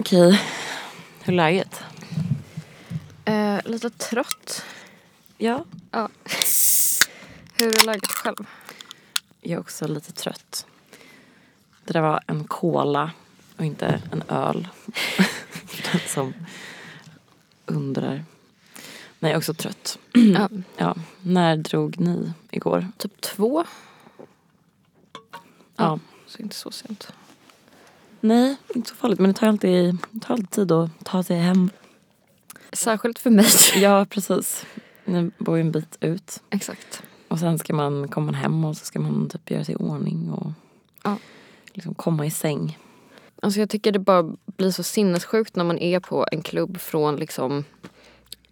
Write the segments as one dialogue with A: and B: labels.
A: Okej. Hur är läget?
B: Eh, lite trött.
A: Ja.
B: Ja. Hur är läget själv?
A: Jag är också lite trött. Det där var en cola och inte en öl. För Den som undrar. Nej, jag är också trött.
B: ja,
A: Ja. När drog ni igår?
B: typ två,
A: Ja.
B: så inte så sent.
A: Nej, inte så farligt. Men det tar alltid, det tar alltid tid att ta sig hem.
B: Särskilt för mig.
A: Ja, precis. Ni bor ju en bit ut.
B: Exakt.
A: Och sen ska man komma hem och så ska man typ göra sig i ordning och
B: Ja.
A: liksom komma i säng.
B: Alltså jag tycker det bara blir så sinnessjukt när man är på en klubb från liksom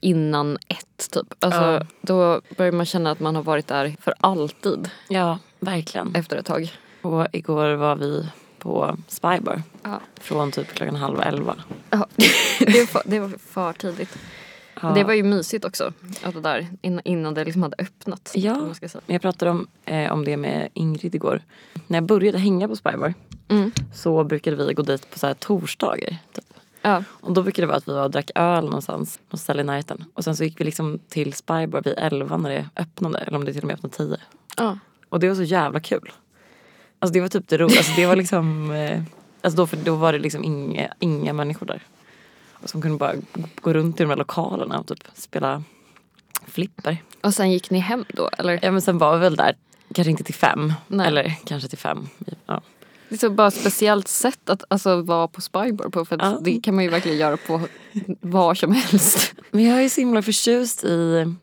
B: innan ett typ. Alltså
A: Ja.
B: då börjar man känna att man har varit där för alltid
A: Ja, verkligen.
B: efter ett tag.
A: Och igår var vi på Spybar
B: Ja.
A: från typ klockan halv elva.
B: Ja. det, var för, det var för tidigt.
A: Ja.
B: Det var ju mysigt också att det där innan, innan det liksom hade öppnat.
A: Ja.
B: om man ska säga.
A: Jag pratade om, eh, om det med Ingrid igår. När jag började hänga på Spybar
B: Mm.
A: så brukade vi gå dit på så här torsdagar. Typ.
B: ja.
A: Och då brukade det vara att vi var och drack öl någonstans, något ställe i närheten. Och sen så gick vi liksom till Spybar vid elva när det öppnade, eller om det till och med öppnade tio.
B: ja.
A: Och det var så jävla kul. Alltså det var typ det roliga. Alltså det var liksom... eh, Alltså då, för då var det liksom inga, inga människor där. Och som kunde bara gå runt i de här lokalerna och typ spela flipper.
B: Och sen gick ni hem då eller?
A: Ja men sen var vi väl där, kanske inte till fem.
B: Nej.
A: Eller kanske till fem. Ja.
B: Det är så bara ett speciellt sätt att alltså, vara på Spybar på för att
A: Ja.
B: det kan man ju verkligen göra på var som helst.
A: Men jag är så himla förtjust i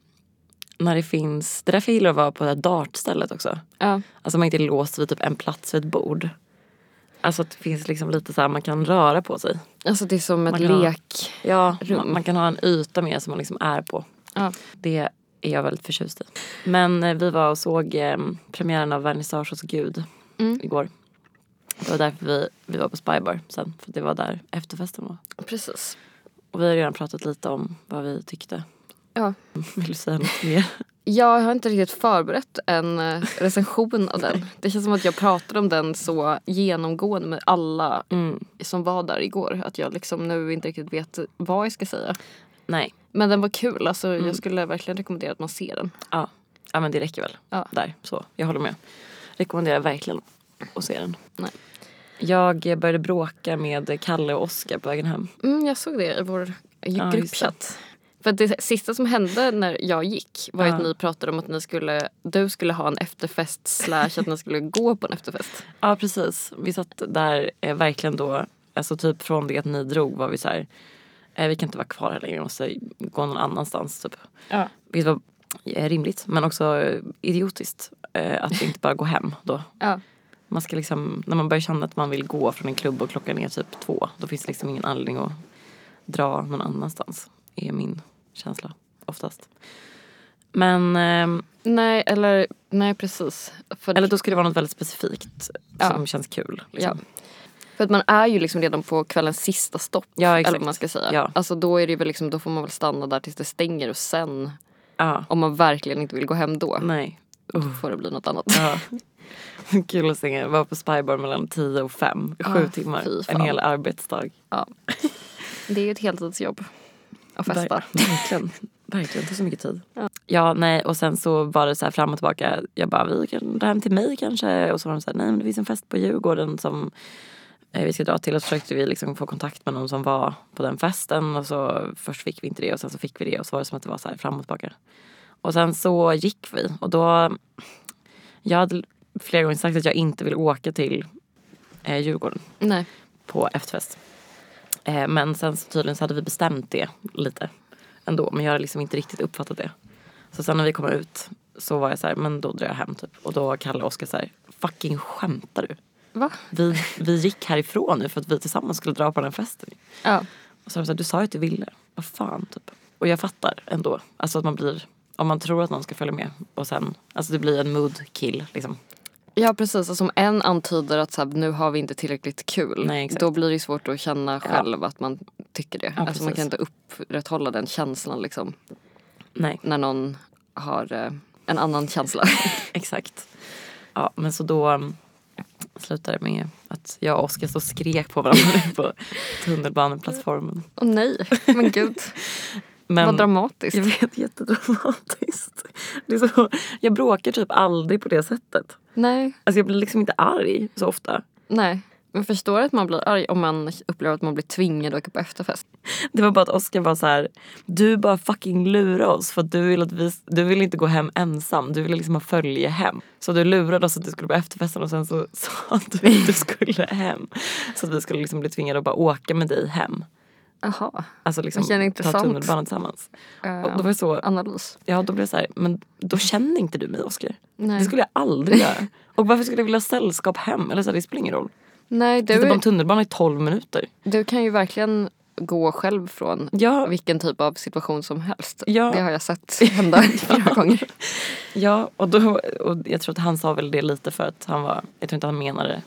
A: när det finns... Det är därför jag gillar att vara på det här dartstället också.
B: Ja,
A: Alltså man inte är låst vid typ en plats vid ett bord. Alltså att det finns liksom lite så här man kan röra på sig.
B: alltså det är som ett
A: Man kan ha-
B: lek.
A: Ja,
B: rum.
A: man, man kan ha en yta med som man liksom är på.
B: Ja.
A: Det är jag väldigt förtjust i. Men eh, vi var och såg eh, premiären av Vernissage hos Gud
B: Mm.
A: igår. Det var därför vi, vi var på Spybar sen, för det var där efterfesten var.
B: Precis.
A: Och vi har redan pratat lite om vad vi tyckte.
B: Ja.
A: Vill du säga något mer?
B: Jag har inte riktigt förberett en eh, recension av den. Det känns som att jag pratar om den så genomgående med alla
A: Mm.
B: som var där igår. Att jag liksom nu inte riktigt vet vad jag ska säga.
A: Nej,
B: Men den var kul. Alltså, Jag skulle verkligen rekommendera att man ser den.
A: ja. ja men det räcker väl.
B: Ja.
A: Där, så. Jag håller med. Rekommenderar verkligen att se den.
B: Nej.
A: Jag eh, började bråka med Kalle och Oskar på vägen hem.
B: Mm, jag såg det i vår
A: Ja, just
B: gruppchatt. För det sista som hände när jag gick var ju att
A: Ja.
B: ni pratade om att ni skulle, du skulle ha en efterfest slash att ni skulle gå på en efterfest.
A: Ja precis. Vi satt där eh, verkligen då, alltså typ från det att ni drog var vi så här, eh, vi kan inte vara kvar här längre, vi måste gå någon annanstans typ.
B: Ja.
A: Vilket var eh, rimligt men också eh, idiotiskt eh, att inte bara gå hem då.
B: Ja.
A: Man ska liksom, när man börjar känna att man vill gå från en klubb och klockan är typ två, då finns det liksom ingen anledning att dra någon annanstans. Är min känsla oftast. Men, eh,
B: Nej, eller nej precis. För,
A: eller då ska det vara något väldigt specifikt som känns kul. Liksom.
B: för att man är ju liksom redan på kvällens sista stopp.
A: Ja,
B: eller
A: exakt.
B: vad man ska säga.
A: Ja.
B: Alltså då, är det väl liksom, då får man väl stanna där tills det stänger och sen
A: Ja.
B: om man verkligen inte vill gå hem då,
A: Nej.
B: då får det bli något annat.
A: Ja. Kul att sänga. Var på Spybar mellan 10 och 5. Sju
B: Ah,
A: timmar.
B: fy fan.
A: En hel arbetsdag.
B: Ja. Det är ju ett heltidsjobb att festa.
A: Ver- verkligen. Verkligen. Det tar så mycket tid. Ja. nej. Och sen så var det så här fram och tillbaka. Jag bara, vi kan dra hem till mig kanske. Och så var de så här, nej men det finns en fest på Djurgården som eh, vi ska dra till. Och så försökte vi liksom få kontakt med någon som var på den festen. Och så först fick vi inte det och sen så fick vi det. Och så var det som att det var så här fram och tillbaka. Och sen så gick vi. Och då Jag hade flera gånger sagt att jag inte vill åka till eh, Djurgården
B: Nej.
A: på efterfest. Eh, men sen så tydligen så hade vi bestämt det lite ändå. Men jag hade liksom inte riktigt uppfattat det. Så sen när vi kom ut så var jag så här, men då drar jag hem typ. Och då var Kalle och Oskar så här, fucking skämtar du?
B: Va?
A: Vi, vi gick härifrån nu för att vi tillsammans skulle dra på den här festen.
B: Ja.
A: Och så var de så här, du sa ju att du ville. Vad fan typ. Och jag fattar ändå. Alltså att man blir, om man tror att någon ska följa med och sen, alltså det blir en mood kill liksom.
B: Ja precis, och som en antyder att så här, nu har vi inte tillräckligt kul.
A: Nej, exakt.
B: då blir det ju svårt att känna själv att man tycker det.
A: Ja,
B: alltså man
A: precis.
B: kan inte upprätthålla den känslan liksom.
A: Nej.
B: När någon har eh, en annan känsla.
A: Exakt. Ja, men så då um, slutade med att jag och Oskar så skrek på varandra på tunnelbaneplattformen.
B: Åh nej, men gud.
A: Men
B: Vad dramatiskt.
A: jag vet, jättedramatiskt. Det är så, jag bråkar typ aldrig på det sättet.
B: Nej,
A: Alltså jag blir liksom inte arg så ofta.
B: nej. Men förstår att man blir arg om man upplever att man blir tvingad att åka på efterfest.
A: Det var bara att Oskar var så här, du bara fucking lurar oss för att du vill, att vi, du vill inte gå hem ensam, du vill liksom ha följe hem. Så du lurade oss att du skulle på efterfesten och sen så sa du att du skulle hem. Så att vi skulle liksom bli tvingade att bara åka med dig hem.
B: Jaha.
A: Alltså liksom
B: Vilken
A: ta
B: intressant.
A: tunnelbanan tillsammans.
B: Eh,
A: Och då var jag så,
B: Analys.
A: ja då blev jag så här, men då känner inte du mig Oskar.
B: Nej.
A: Det skulle jag aldrig göra. Och varför skulle jag vilja ha sällskap hem? Eller så här, det spelar ingen roll. Typ
B: Nej,
A: Du...
B: du,
A: Sitta på en tunnelbana i 12 minuter.
B: du kan ju verkligen gå själv från
A: Ja,
B: vilken typ av situation som helst.
A: Ja.
B: Det har jag sett hända flera gånger.
A: ja och, då, och jag tror att han sa väl det lite för att han var, jag tror inte han menade det.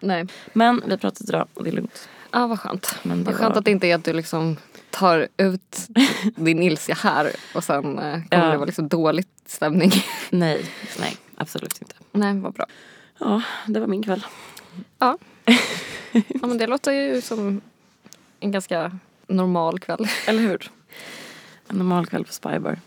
B: Nej.
A: Men vi pratade idag och det är lugnt.
B: Ah, vad skönt.
A: Men det
B: Vad skönt
A: var-
B: att det inte är att du liksom tar ut din ilska här och sen eh, kommer
A: Ja.
B: det vara liksom dålig stämning.
A: Nej, nej absolut inte.
B: Nej, vad bra.
A: Ja, det var min kväll.
B: Ja. ja, men det låter ju som en ganska normal kväll.
A: Eller hur? En normal kväll på Spybar.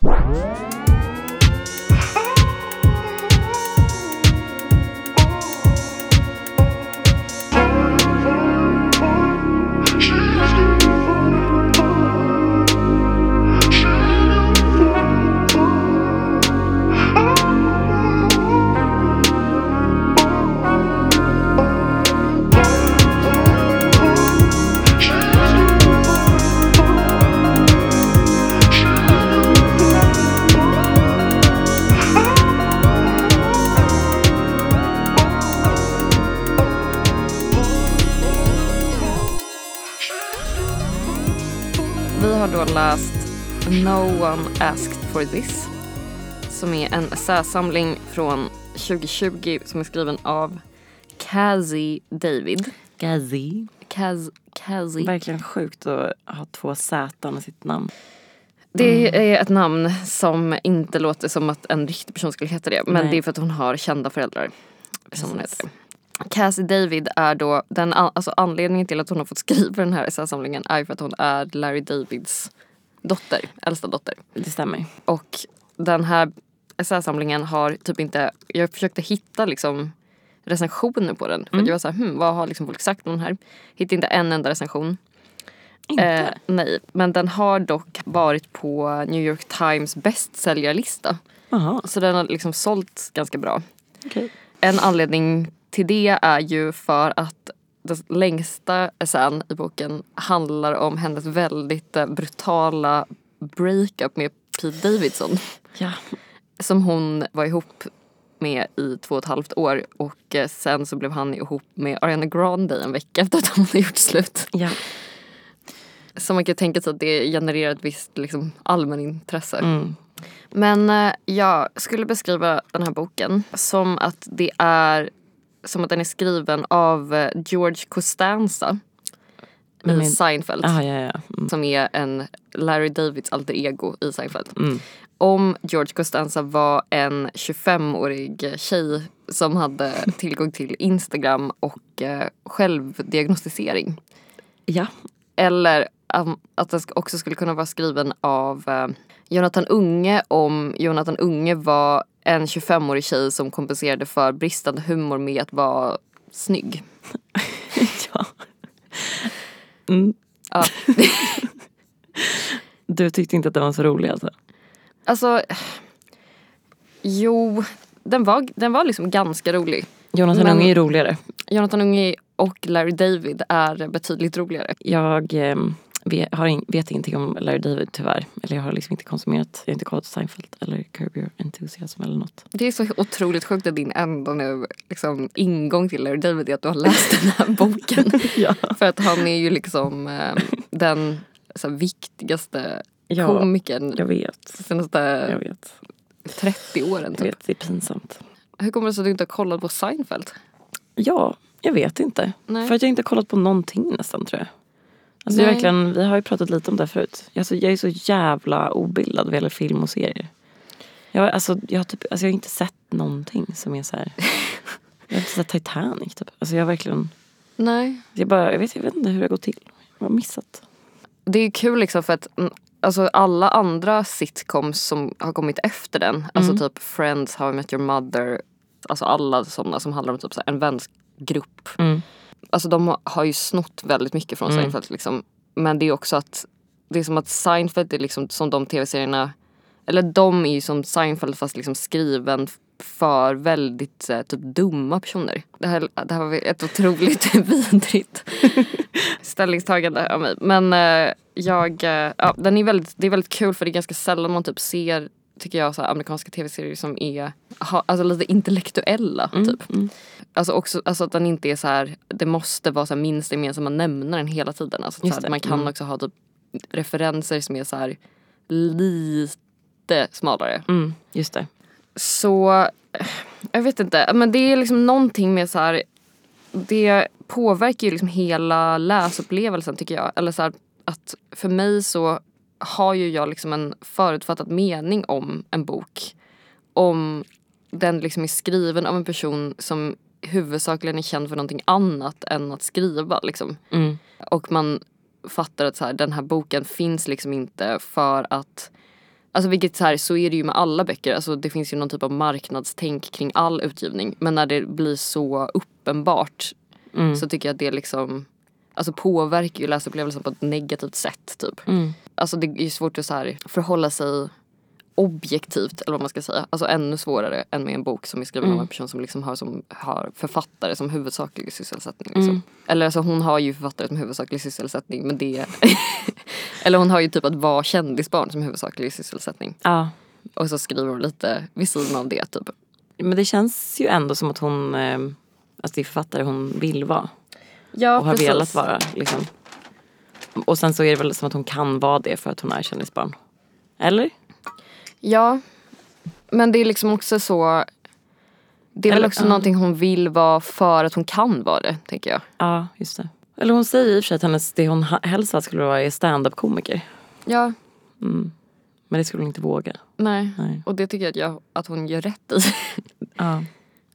B: Vi har då läst No One Asked For This som är en essäsamling från 2020 som är skriven av Kazi David.
A: Gazi.
B: Kaz, Kazi.
A: Verkligen sjukt att ha två Z i sitt namn.
B: Det
A: Mm.
B: är ett namn som inte låter som att en riktig person skulle heta det. Men
A: Nej.
B: det är för att hon har kända föräldrar. Som hon
A: Precis.
B: heter. Cassie David är då, den, an- alltså anledningen till att hon har fått skriva den här essäsamlingen är ju för att hon är Larry Davids dotter, äldsta dotter.
A: Det stämmer.
B: Och den här essäsamlingen har typ inte, jag försökte hitta liksom recensioner på den. För att jag var såhär, hmm, vad har liksom folk sagt om den här? Hittade inte en enda recension.
A: Inte?
B: Eh, nej, men den har dock varit på New York Times bästsäljarlista.
A: Jaha,
B: Så den har liksom sålt ganska bra.
A: okej.
B: En anledning till det är ju för att den längsta essän i boken handlar om hennes väldigt eh, brutala breakup med Pete Davidson
A: Ja.
B: som hon var ihop med i två och ett halvt år och eh, sen så blev han ihop med Ariana Grande en vecka efter att de hade gjort slut.
A: ja.
B: Så man kan tänka sig att det genererar ett visst liksom, allmänintresse.
A: Mm.
B: Men eh, jag skulle beskriva den här boken som att det är som att den är skriven av eh, George Costanza
A: Men
B: i
A: med-
B: Seinfeld.
A: Ah, ja, ja, ja. Mm.
B: Som är en Larry Davids alter ego i Seinfeld.
A: Mm.
B: Om George Costanza var en 25-årig tjej som hade tillgång till Instagram och eh, självdiagnostisering.
A: Ja.
B: Eller um, att den sk- också skulle kunna vara skriven av eh, Jonathan Unge om Jonathan Unge var en 25-årig tjej som kompenserade för bristande humor med att vara snygg.
A: ja. Mm.
B: Ja.
A: Du tyckte inte att den var så rolig alltså?
B: Alltså, jo, den var, den var liksom ganska rolig.
A: Jonathan
B: Men-
A: Unge är roligare.
B: Jonathan Unge och Larry David är betydligt roligare.
A: Jag ehm, vet, har in, vet ingenting om Larry David tyvärr. Eller jag har liksom inte konsumerat, jag har inte kollat Seinfeld eller Curb Your Enthusiasm eller något.
B: Det är så otroligt sjukt att din enda nu, liksom, ingång till Larry David är att du har läst den här boken.
A: Ja.
B: För att han är ju liksom eh, den så här, viktigaste
A: Ja.
B: komikern
A: Jag vet.
B: de senaste
A: Jag vet.
B: 30 åren.
A: Jag
B: Typ.
A: vet, det är pinsamt.
B: Hur kommer det sig att du inte har kollat på Seinfeld?
A: Ja, jag vet inte.
B: Nej.
A: För att jag inte har kollat på någonting nästan tror jag. Alltså det är
B: Nej.
A: verkligen, vi har ju pratat lite om det här förut. Alltså, jag är så jävla obildad vad gäller film och serier. Jag, har- alltså, jag, har typ, alltså, jag har inte sett någonting som är så här. Jag har inte sett Titanic typ. Alltså jag har verkligen...
B: Nej.
A: Jag, bara, jag, vet, jag vet inte hur det har gått till. Jag har missat.
B: Det är ju kul liksom för att mm, alltså alla andra sitcoms som har kommit efter den, alltså typ Friends, How I Met Your Mother, alltså alla sådana som handlar om typ så här en vänsgrupp.
A: Mm.
B: Alltså de har- har ju snott väldigt mycket från Seinfeld liksom. Men det är också att det är som att Seinfeld är liksom som de tv-serierna, eller de är ju som Seinfeld fast liksom skriven f- för väldigt eh, typ dumma personer. Det här, det här var ett otroligt vidrigt ställningstagande av mig. Men eh, jag, eh, ja, den är väldigt, det är väldigt kul för det är ganska sällan man typ ser tycker jag så här, amerikanska tv-serier som är ha, alltså lite intellektuella typ. Alltså också alltså att den inte är så här, det måste vara så här minst gemensamma nämnaren hela tiden. Alltså så
A: Just
B: här,
A: det, Mm.
B: man kan också ha typ referenser som är så här lite smalare.
A: Mm. Just det.
B: Så eh, jag vet inte, men det är liksom någonting med så här det påverkar ju liksom hela läsupplevelsen tycker jag. Eller så här, att för mig så har ju jag liksom en förutfattad mening om en bok. Om den liksom är skriven av en person som huvudsakligen är känd för någonting annat än att skriva. Liksom.
A: Mm.
B: Och man fattar att så här, den här boken finns liksom inte för att Alltså vilket så, här, så är det ju med alla böcker, alltså det finns ju någon typ av marknadstänk kring all utgivning. Men när det blir så uppenbart
A: Mm.
B: så tycker jag att det liksom Alltså påverkar ju läsupplevelsen på ett negativt sätt typ.
A: Mm.
B: Alltså det är ju svårt att så här förhålla sig objektivt eller vad man ska säga. Alltså ännu svårare än med en bok som är skriven av en person som liksom har, som har författare som huvudsaklig sysselsättning. Liksom. Eller alltså hon har ju författare som huvudsaklig sysselsättning men det... eller hon har ju typ att vara kändisbarn som huvudsaklig sysselsättning.
A: Ja.
B: Och så skriver hon lite vid sidan av det typ.
A: Men det känns ju ändå som att hon... Eh, alltså det är författare hon vill vara.
B: Ja
A: Och har velat vara. Liksom. Och sen så är det väl som att hon kan vara det för att hon är kändisbarn. Eller?
B: Ja. Men det är liksom också så... Det är väl
A: Eller-
B: också
A: ja.
B: någonting hon vill vara för att hon kan vara det, tänker jag.
A: Ja, just det. Eller hon säger i och för sig att hennes, det hon ha- helst var skulle vara är stand-up-komiker.
B: Ja,
A: Men det skulle hon inte våga.
B: nej.
A: Nej.
B: Och det tycker jag att, jag att hon gör rätt i.
A: Ja.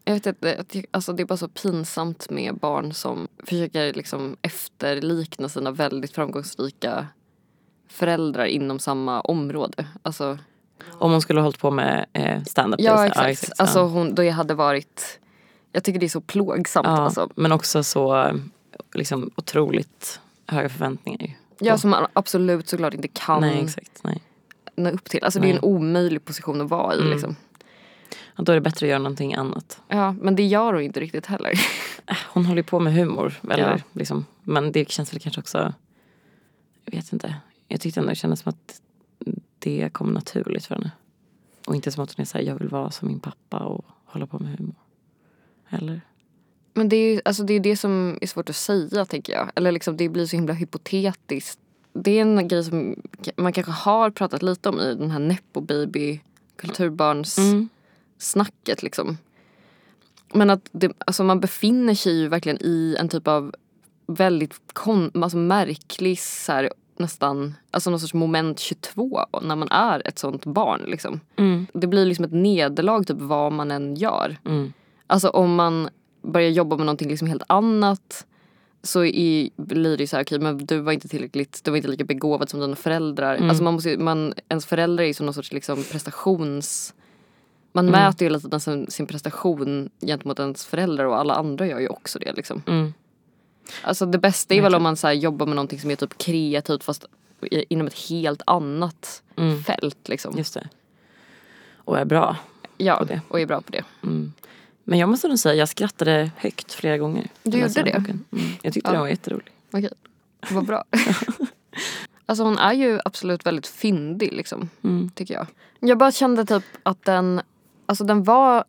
B: jag vet inte, jag tycker- alltså det är bara så pinsamt med barn som försöker liksom efterlikna sina väldigt framgångsrika föräldrar inom samma område. Alltså,
A: Om hon skulle ha hållit på med eh, stand-up. det vill
B: ja,
A: säga.
B: exakt. Alltså
A: ja.
B: hon, då jag hade varit... Jag tycker det är så plågsamt
A: Ja,
B: alltså.
A: Men också så eh, liksom, otroligt höga förväntningar. ju.
B: Ja, som man absolut såklart inte kan
A: Nej, exakt. Nej.
B: nå upp till. Alltså det är en omöjlig position att vara i
A: Mm.
B: liksom.
A: Ja, Då är det bättre att göra någonting annat. Äh,
B: Ja, men det gör hon inte riktigt heller.
A: Hon håller ju på med humor. Eller,
B: Ja.
A: liksom. Men det känns väl kanske också... Jag vet inte. Jag tyckte ändå det kändes som att det kom naturligt för henne. Och inte som att hon är såhär, jag vill vara som min pappa och hålla på med humor. Eller?
B: Men det är ju alltså det, är det som är svårt att säga tänker jag. Eller liksom det blir så himla hypotetiskt. Det är en grej som man kanske har pratat lite om i den här Nepo baby kulturbarns snacket liksom. Men att det, alltså man befinner sig ju verkligen i en typ av väldigt kon, alltså märklig så här, nästan, alltså någon sorts moment 22 när man är ett sånt barn liksom. Det blir liksom ett nederlag typ vad man än gör.
A: Mm.
B: Alltså om man börjar jobba med någonting liksom helt annat så är, blir det ju så här, okej men du var inte tillräckligt, du var inte lika begåvad som dina föräldrar.
A: Mm.
B: Alltså man måste ju- man, ens föräldrar är ju som någon sorts liksom prestations... Man
A: Mm.
B: mäter ju hela tiden sin, sin prestation gentemot ens föräldrar och alla andra gör ju också det liksom.
A: Mm.
B: Alltså det bästa är väl om man så här, jobbar med någonting som är typ kreativt fast i- inom ett helt annat fält liksom.
A: Mm. Just det. Och är bra.
B: Ja,
A: det.
B: och är bra på det.
A: Mm. Men jag måste nog säga, jag skrattade högt flera gånger.
B: Du
A: Läste
B: gjorde
A: den
B: det?
A: boken. Mm. Jag tyckte den var jätterolig.
B: Okej, vad bra. alltså hon är ju absolut väldigt fyndig liksom,
A: Mm.
B: tycker jag. Jag bara kände typ att den, alltså den var,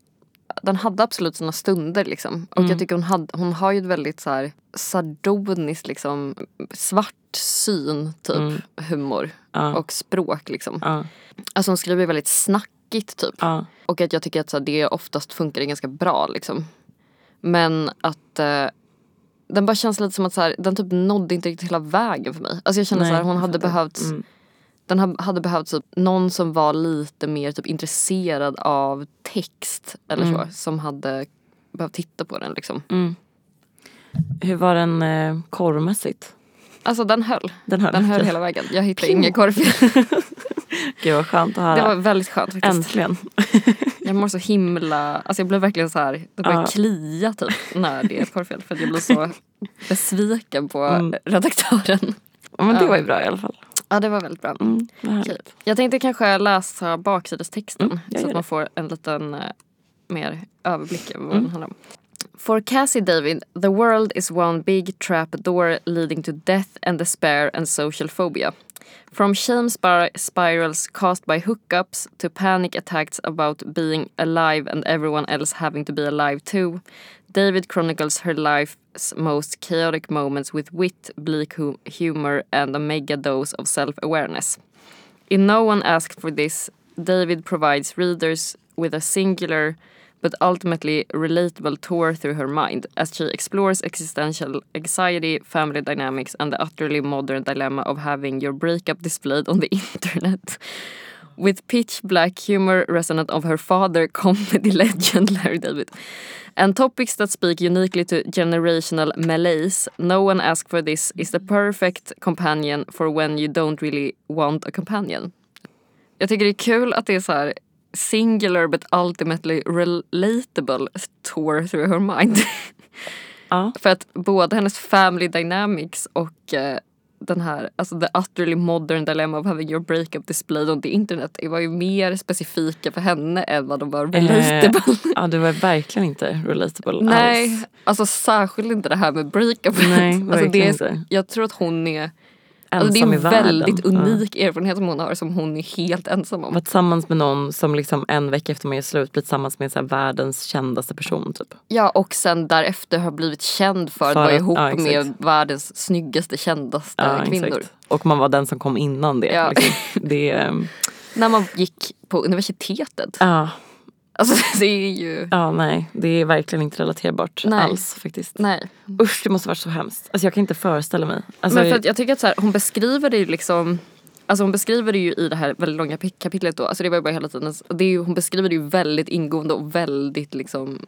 B: den hade absolut sina stunder liksom. Och jag tycker hon, hade, hon har ju ett väldigt så här sardoniskt liksom svart syn typ, humor
A: Ja.
B: och språk liksom.
A: Ja.
B: Alltså hon skriver väldigt snackigt typ.
A: Ja.
B: Och att jag tycker att så här, det oftast funkar ganska bra liksom. Men att eh, den bara känns lite som att så här, den typ nådde inte riktigt hela vägen för mig. Alltså jag kände
A: Nej,
B: så här, hon
A: jag
B: hade
A: fattar. Mm.
B: behövt, den ha- hade behövt typ någon som
A: Mm.
B: var lite mer typ intresserad av text eller så. Som hade behövt titta på den liksom.
A: Hur var den eh, korvmässigt?
B: Alltså den höll.
A: Den höll.
B: Den höll hela vägen. Jag hittade ingen korvfilm.
A: Gud vad skönt att höra.
B: Det var väldigt skönt faktiskt.
A: Äntligen.
B: Jag mår så himla, alltså jag blev verkligen så här, det börjar
A: Ja.
B: klia typ när det är ett korvfilm för att jag blir så besviken på redaktören.
A: Ja, Men det var ju bra i alla fall.
B: Mm. Ja det var väldigt bra.
A: Mm, vad härligt.
B: Okej. Jag tänkte kanske läsa baksidestexten
A: Mm, jag gör det.
B: så att
A: Mm.
B: man får en liten eh, mer överblick över vad den handlar om. For Cassie David, the world is one big trap door leading to death and despair and social phobia. From shame spir- spirals caused by hookups to panic attacks about being alive and everyone else having to be alive too, David chronicles her life's most chaotic moments with wit, bleak hu- humor, and a mega dose of self awareness. In No One Asked for This, David provides readers with a singular but ultimately relatable tour through her mind as she explores existential anxiety, family dynamics, and the utterly modern dilemma of having your breakup displayed on the internet. With pitch black humor resonant of her father, comedy legend Larry David, and topics that speak uniquely to generational malaise, No One Asked for This is the perfect companion for when you don't really want a companion. Jag tycker det är kul att det är så här singular but ultimately relatable tour through her mind.
A: Ja.
B: För att både hennes family dynamics och eh, den här, alltså the utterly modern dilemma of having your breakup displayed on the internet var ju mer specifika för henne än vad de var relatable.
A: Eh, ja, du var verkligen inte relatable
B: Nej,
A: alls.
B: alltså särskilt inte det här med breakup.
A: Nej,
B: alltså det
A: verkligen
B: är,
A: inte.
B: jag tror att hon är, alltså
A: Ensam
B: det
A: i
B: är en
A: världen.
B: väldigt
A: Ja.
B: unik erfarenhet som hon har som hon är helt ensam om.
A: Vara tillsammans med någon som liksom en vecka efter man gör slut blir tillsammans med så här världens kändaste person. Typ.
B: Ja och sen därefter har blivit känd för, att
A: För
B: vara
A: att-
B: ihop
A: ja, exakt.
B: med världens snyggaste, kändaste
A: Ja,
B: Eh, kvinnor.
A: exakt. Och man var den som kom innan det.
B: Ja.
A: Liksom. det ehm,
B: När man gick på universitetet.
A: ja,
B: Alltså det är ju...
A: ja, nej. Det är verkligen inte relaterbart
B: Nej.
A: alls faktiskt.
B: Nej.
A: Usch, det måste varit så hemskt. Alltså, jag kan inte föreställa mig. Alltså,
B: Men för att jag tycker att så här, hon beskriver det ju liksom Alltså hon beskriver det ju i det här väldigt långa pik- kapitlet då, alltså det var ju bara hela tiden, det är ju, hon beskriver det ju väldigt ingående och väldigt liksom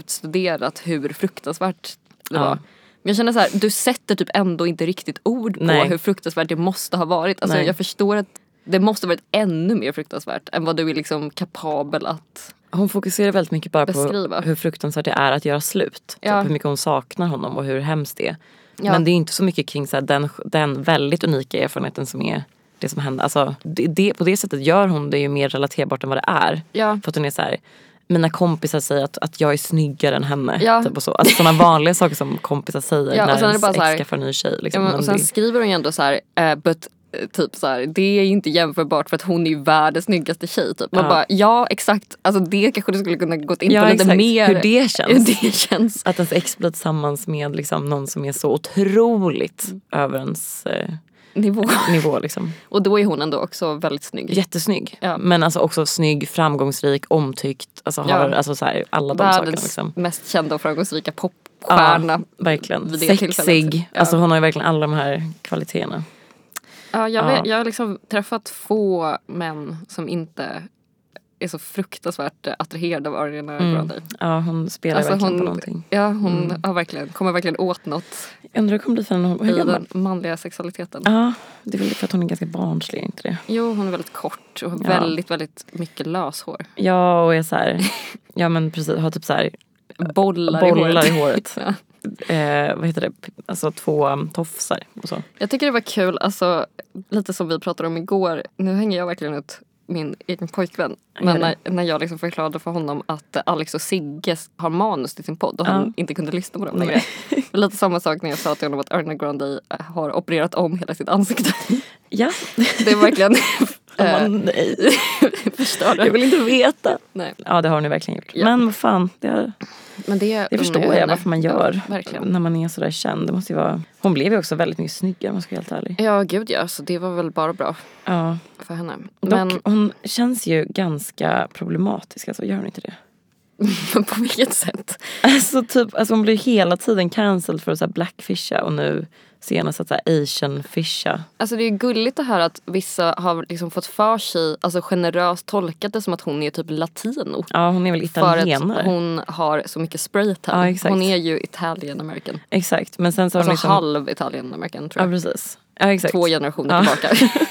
B: utstuderat hur fruktansvärt det
A: Ja.
B: var. Men jag känner så här, du sätter typ ändå inte riktigt ord på
A: Nej.
B: hur fruktansvärt det måste ha varit. Alltså
A: Nej.
B: jag förstår att det måste varit ännu mer fruktansvärt än vad du är liksom kapabel att...
A: Hon fokuserar väldigt mycket bara
B: Beskriva.
A: på hur fruktansvärt det är att göra slut.
B: Ja.
A: Typ hur mycket hon saknar honom och hur hemskt det är.
B: Ja.
A: Men det är inte så mycket kring så här, den, den väldigt unika erfarenheten som är det som hände. Alltså, det, det, på det sättet gör hon det ju mer relaterbart än vad det är.
B: Ja.
A: För att hon är så här, mina kompisar säger att, att jag är snyggare än henne.
B: Ja.
A: Typ och så. Alltså sådana vanliga saker som kompisar säger
B: Ja, och sen
A: när
B: är det
A: ens
B: bara så här-
A: ex skaffar en ny tjej. Liksom.
B: Ja, men,
A: Men
B: och sen
A: det-
B: skriver hon ju ändå så här, eh, but eh, Typ så här, det är ju inte jämförbart för att hon är ju världens snyggaste tjej. Typ. Man
A: Ja.
B: bara, ja exakt, alltså det kanske du skulle kunna gått in
A: Ja,
B: på lite
A: exakt.
B: mer.
A: liksom Hur det känns.
B: Hur det känns.
A: Att ens ex blir tillsammans med liksom, någon som är så otroligt över ens eh,
B: Nivå.
A: nivå. Liksom.
B: Och då är hon ändå också väldigt snygg.
A: Jättesnygg.
B: Ja.
A: Men alltså också snygg, framgångsrik, omtyckt. Alltså har
B: Ja.
A: alltså så här, alla de sakerna.
B: världens
A: Liksom.
B: mest kända och framgångsrika popstjärna.
A: Ja, verkligen.
B: vid det tillfället.
A: Sexig.
B: Ja.
A: Alltså hon har ju verkligen alla de här kvaliteterna.
B: Ja, jag,
A: Ja.
B: Vet, jag har liksom träffat få män som inte är så fruktansvärt eh, attraherade av Ariana Grande.
A: Ja, hon spelar
B: Alltså
A: verkligen på
B: hon,
A: någonting.
B: ja, hon har verkligen, kommer verkligen åt något
A: Jag undrar hur det kommer bli för henne. Hon-
B: i
A: Hur gammal?
B: den manliga sexualiteten.
A: Ja, det är väl för att hon är ganska barnslig, inte det?
B: Jo, hon är väldigt kort och har
A: Ja.
B: väldigt, väldigt mycket löshår.
A: Ja, och är så här, ja men precis, har typ så här
B: Bollar,
A: bollar
B: i
A: i
B: håret.
A: håret.
B: Ja.
A: eh, vad heter det? Alltså två um, tofsar och så.
B: Jag tycker det var kul, alltså, lite som vi pratade om igår. Nu hänger jag verkligen ut min egen pojkvän. Men
A: Gör
B: när,
A: det.
B: när jag liksom förklarade för honom att Alex och Sigge har manus till sin podd och han inte kunde lyssna på dem längre. Det var lite samma sak när jag sa till honom att Ariana Grande har opererat om hela sitt ansikte.
A: Ja.
B: Det är verkligen... eh,
A: Man, nej.
B: förstör det.
A: Jag vill inte veta.
B: Nej.
A: Ja, det har hon ju verkligen gjort.
B: Ja.
A: Men vad fan, det är...
B: Men det,
A: Det
B: unnar
A: förstår
B: henne.
A: jag varför man gör.
B: Ja, verkligen.
A: När man är sådär känd. Det måste ju vara... Hon blev ju också väldigt mycket snyggare om man ska vara helt ärlig.
B: Ja, gud ja. Så det var väl bara bra
A: Ja.
B: för henne.
A: Dock, hon känns ju ganska problematisk. Alltså, gör hon inte det?
B: Men på vilket sätt?
A: Alltså, typ, alltså hon blir ju hela tiden cancelled för att så här blackfisha och nu senast att så här, asian fisha.
B: Alltså det är ju gulligt att höra att vissa har liksom fått för sig, alltså generöst tolkat det som att hon är typ latino.
A: Ja hon är väl
B: För
A: italienare.
B: att hon har så mycket spraytan.
A: Ja, exakt.
B: hon är ju Italian American.
A: Exakt men sen så har
B: Alltså
A: hon liksom.
B: halv Italian American tror
A: Ja
B: jag.
A: precis. Ja exakt.
B: Två generationer
A: Ja.
B: tillbaka.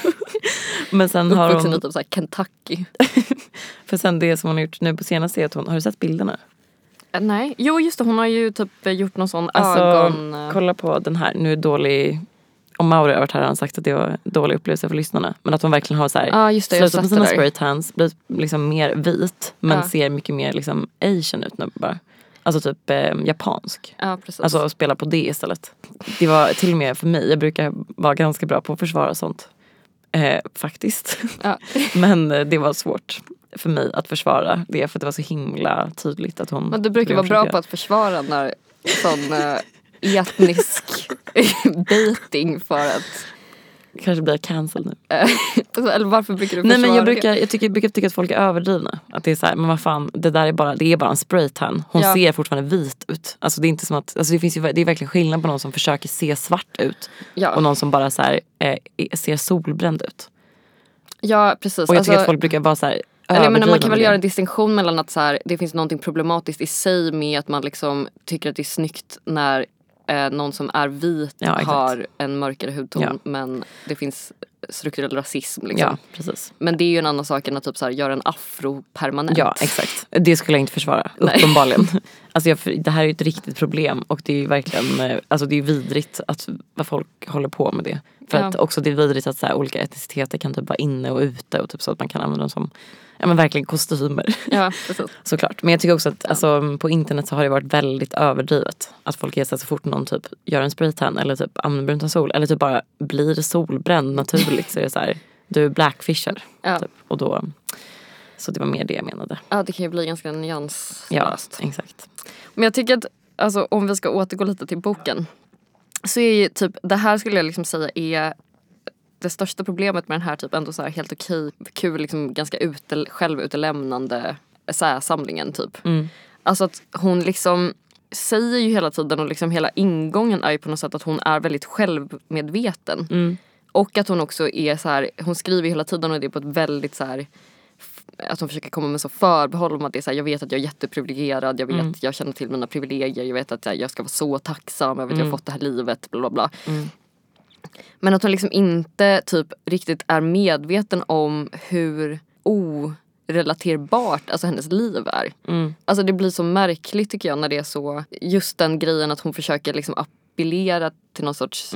A: Men sen har
B: Uppvuxen i
A: hon,
B: typ såhär Kentucky.
A: för sen det som hon har gjort nu på senaste är att hon, har du sett bilderna?
B: Eh, Nej, jo just det hon har ju typ eh, gjort någon sån
A: Alltså
B: ögon... eh,
A: kolla på den här, nu är dålig, om Mauri har varit här har han sagt att det var dålig upplevelse för lyssnarna. Men att hon verkligen har så här,
B: Ja, just det, jag har
A: slutat med
B: sett
A: sina
B: det där.
A: spraytans, blivit liksom mer vit men
B: Ja.
A: ser mycket mer liksom asian ut nu bara. Alltså typ eh, japansk.
B: Ja precis.
A: Alltså spela på det istället. Det var till och med för mig, jag brukar vara ganska bra på att försvara sånt. Eh, faktiskt.
B: Ja.
A: Men eh, det var svårt för mig att försvara det för att det var så himla tydligt att hon...
B: Men du brukar
A: blev
B: vara bra
A: försökare.
B: på att försvara när sån eh, etnisk baiting för att...
A: Kanske blir jag cancelled nu.
B: Alltså, eller varför brukar du
A: Nej
B: försvara
A: men jag
B: det?
A: brukar, jag, tycker, jag brukar tycka att folk är överdrivna. Att det är så här, men vad fan, det där är bara, det är bara en spraytan. Hon
B: Ja.
A: ser fortfarande vit ut. Alltså det är inte som att, alltså det finns ju, det är verkligen skillnad på någon som försöker se svart ut
B: Ja.
A: och någon som bara så här, eh, ser solbränd ut.
B: Ja precis.
A: Och jag
B: Alltså,
A: tycker att folk brukar vara så här
B: eller jag menar,
A: överdrivna
B: man kan väl
A: med
B: göra
A: det.
B: en distinktion mellan att så här, det finns någonting problematiskt i sig med att man liksom tycker att det är snyggt när eh, någon som är vit
A: Ja, exakt.
B: har en mörkare hudton
A: Ja.
B: men det finns strukturell rasism. Liksom.
A: Ja precis.
B: Men det är ju en annan sak än att typ så här, göra en afro permanent.
A: Ja exakt. Det skulle jag inte försvara. Uppenbarligen. alltså jag, för- det här är ju ett riktigt problem och det är ju verkligen eh, alltså det är vidrigt att, vad folk håller på med det. För
B: Ja.
A: att också det är vidrigt att så här, olika etniciteter kan typ vara inne och ute och typ så att man kan använda dem som ja, men verkligen kostymer.
B: Ja, precis.
A: Såklart. Men jag tycker också att alltså, på internet så har det varit väldigt överdrivet. Att folk är så här, så fort någon typ gör en spraytan eller typ använder bruntansol eller typ bara blir solbränd naturligt så är det så här, du blackfishar.
B: Ja.
A: Typ. Och då, så det var mer det jag menade.
B: ja, det kan ju bli ganska nyanslöst.
A: Ja, exakt.
B: Men jag tycker att alltså, om vi ska återgå lite till boken så är ju typ det här skulle jag liksom säga är det största problemet med den här typ ändå så här helt okej, kul, liksom ganska ute, självutelämnande essäsamlingen typ. Alltså att hon liksom säger ju hela tiden och liksom hela ingången är ju på något sätt att hon är väldigt självmedveten. Och att hon också är så här, hon skriver hela tiden och det är på ett väldigt så här f- att hon försöker komma med så förbehåll om att det är så här, jag vet att jag är jätteprivilegierad, jag vet, jag känner till mina privilegier, jag vet att så här, jag ska vara så tacksam, jag vet att jag har fått det här livet, bla bla bla. Men att hon liksom inte typ riktigt är medveten om hur orelaterbart alltså hennes liv är. Alltså det blir så märkligt tycker jag när det är så, just den grejen att hon försöker liksom appellera till någon sorts,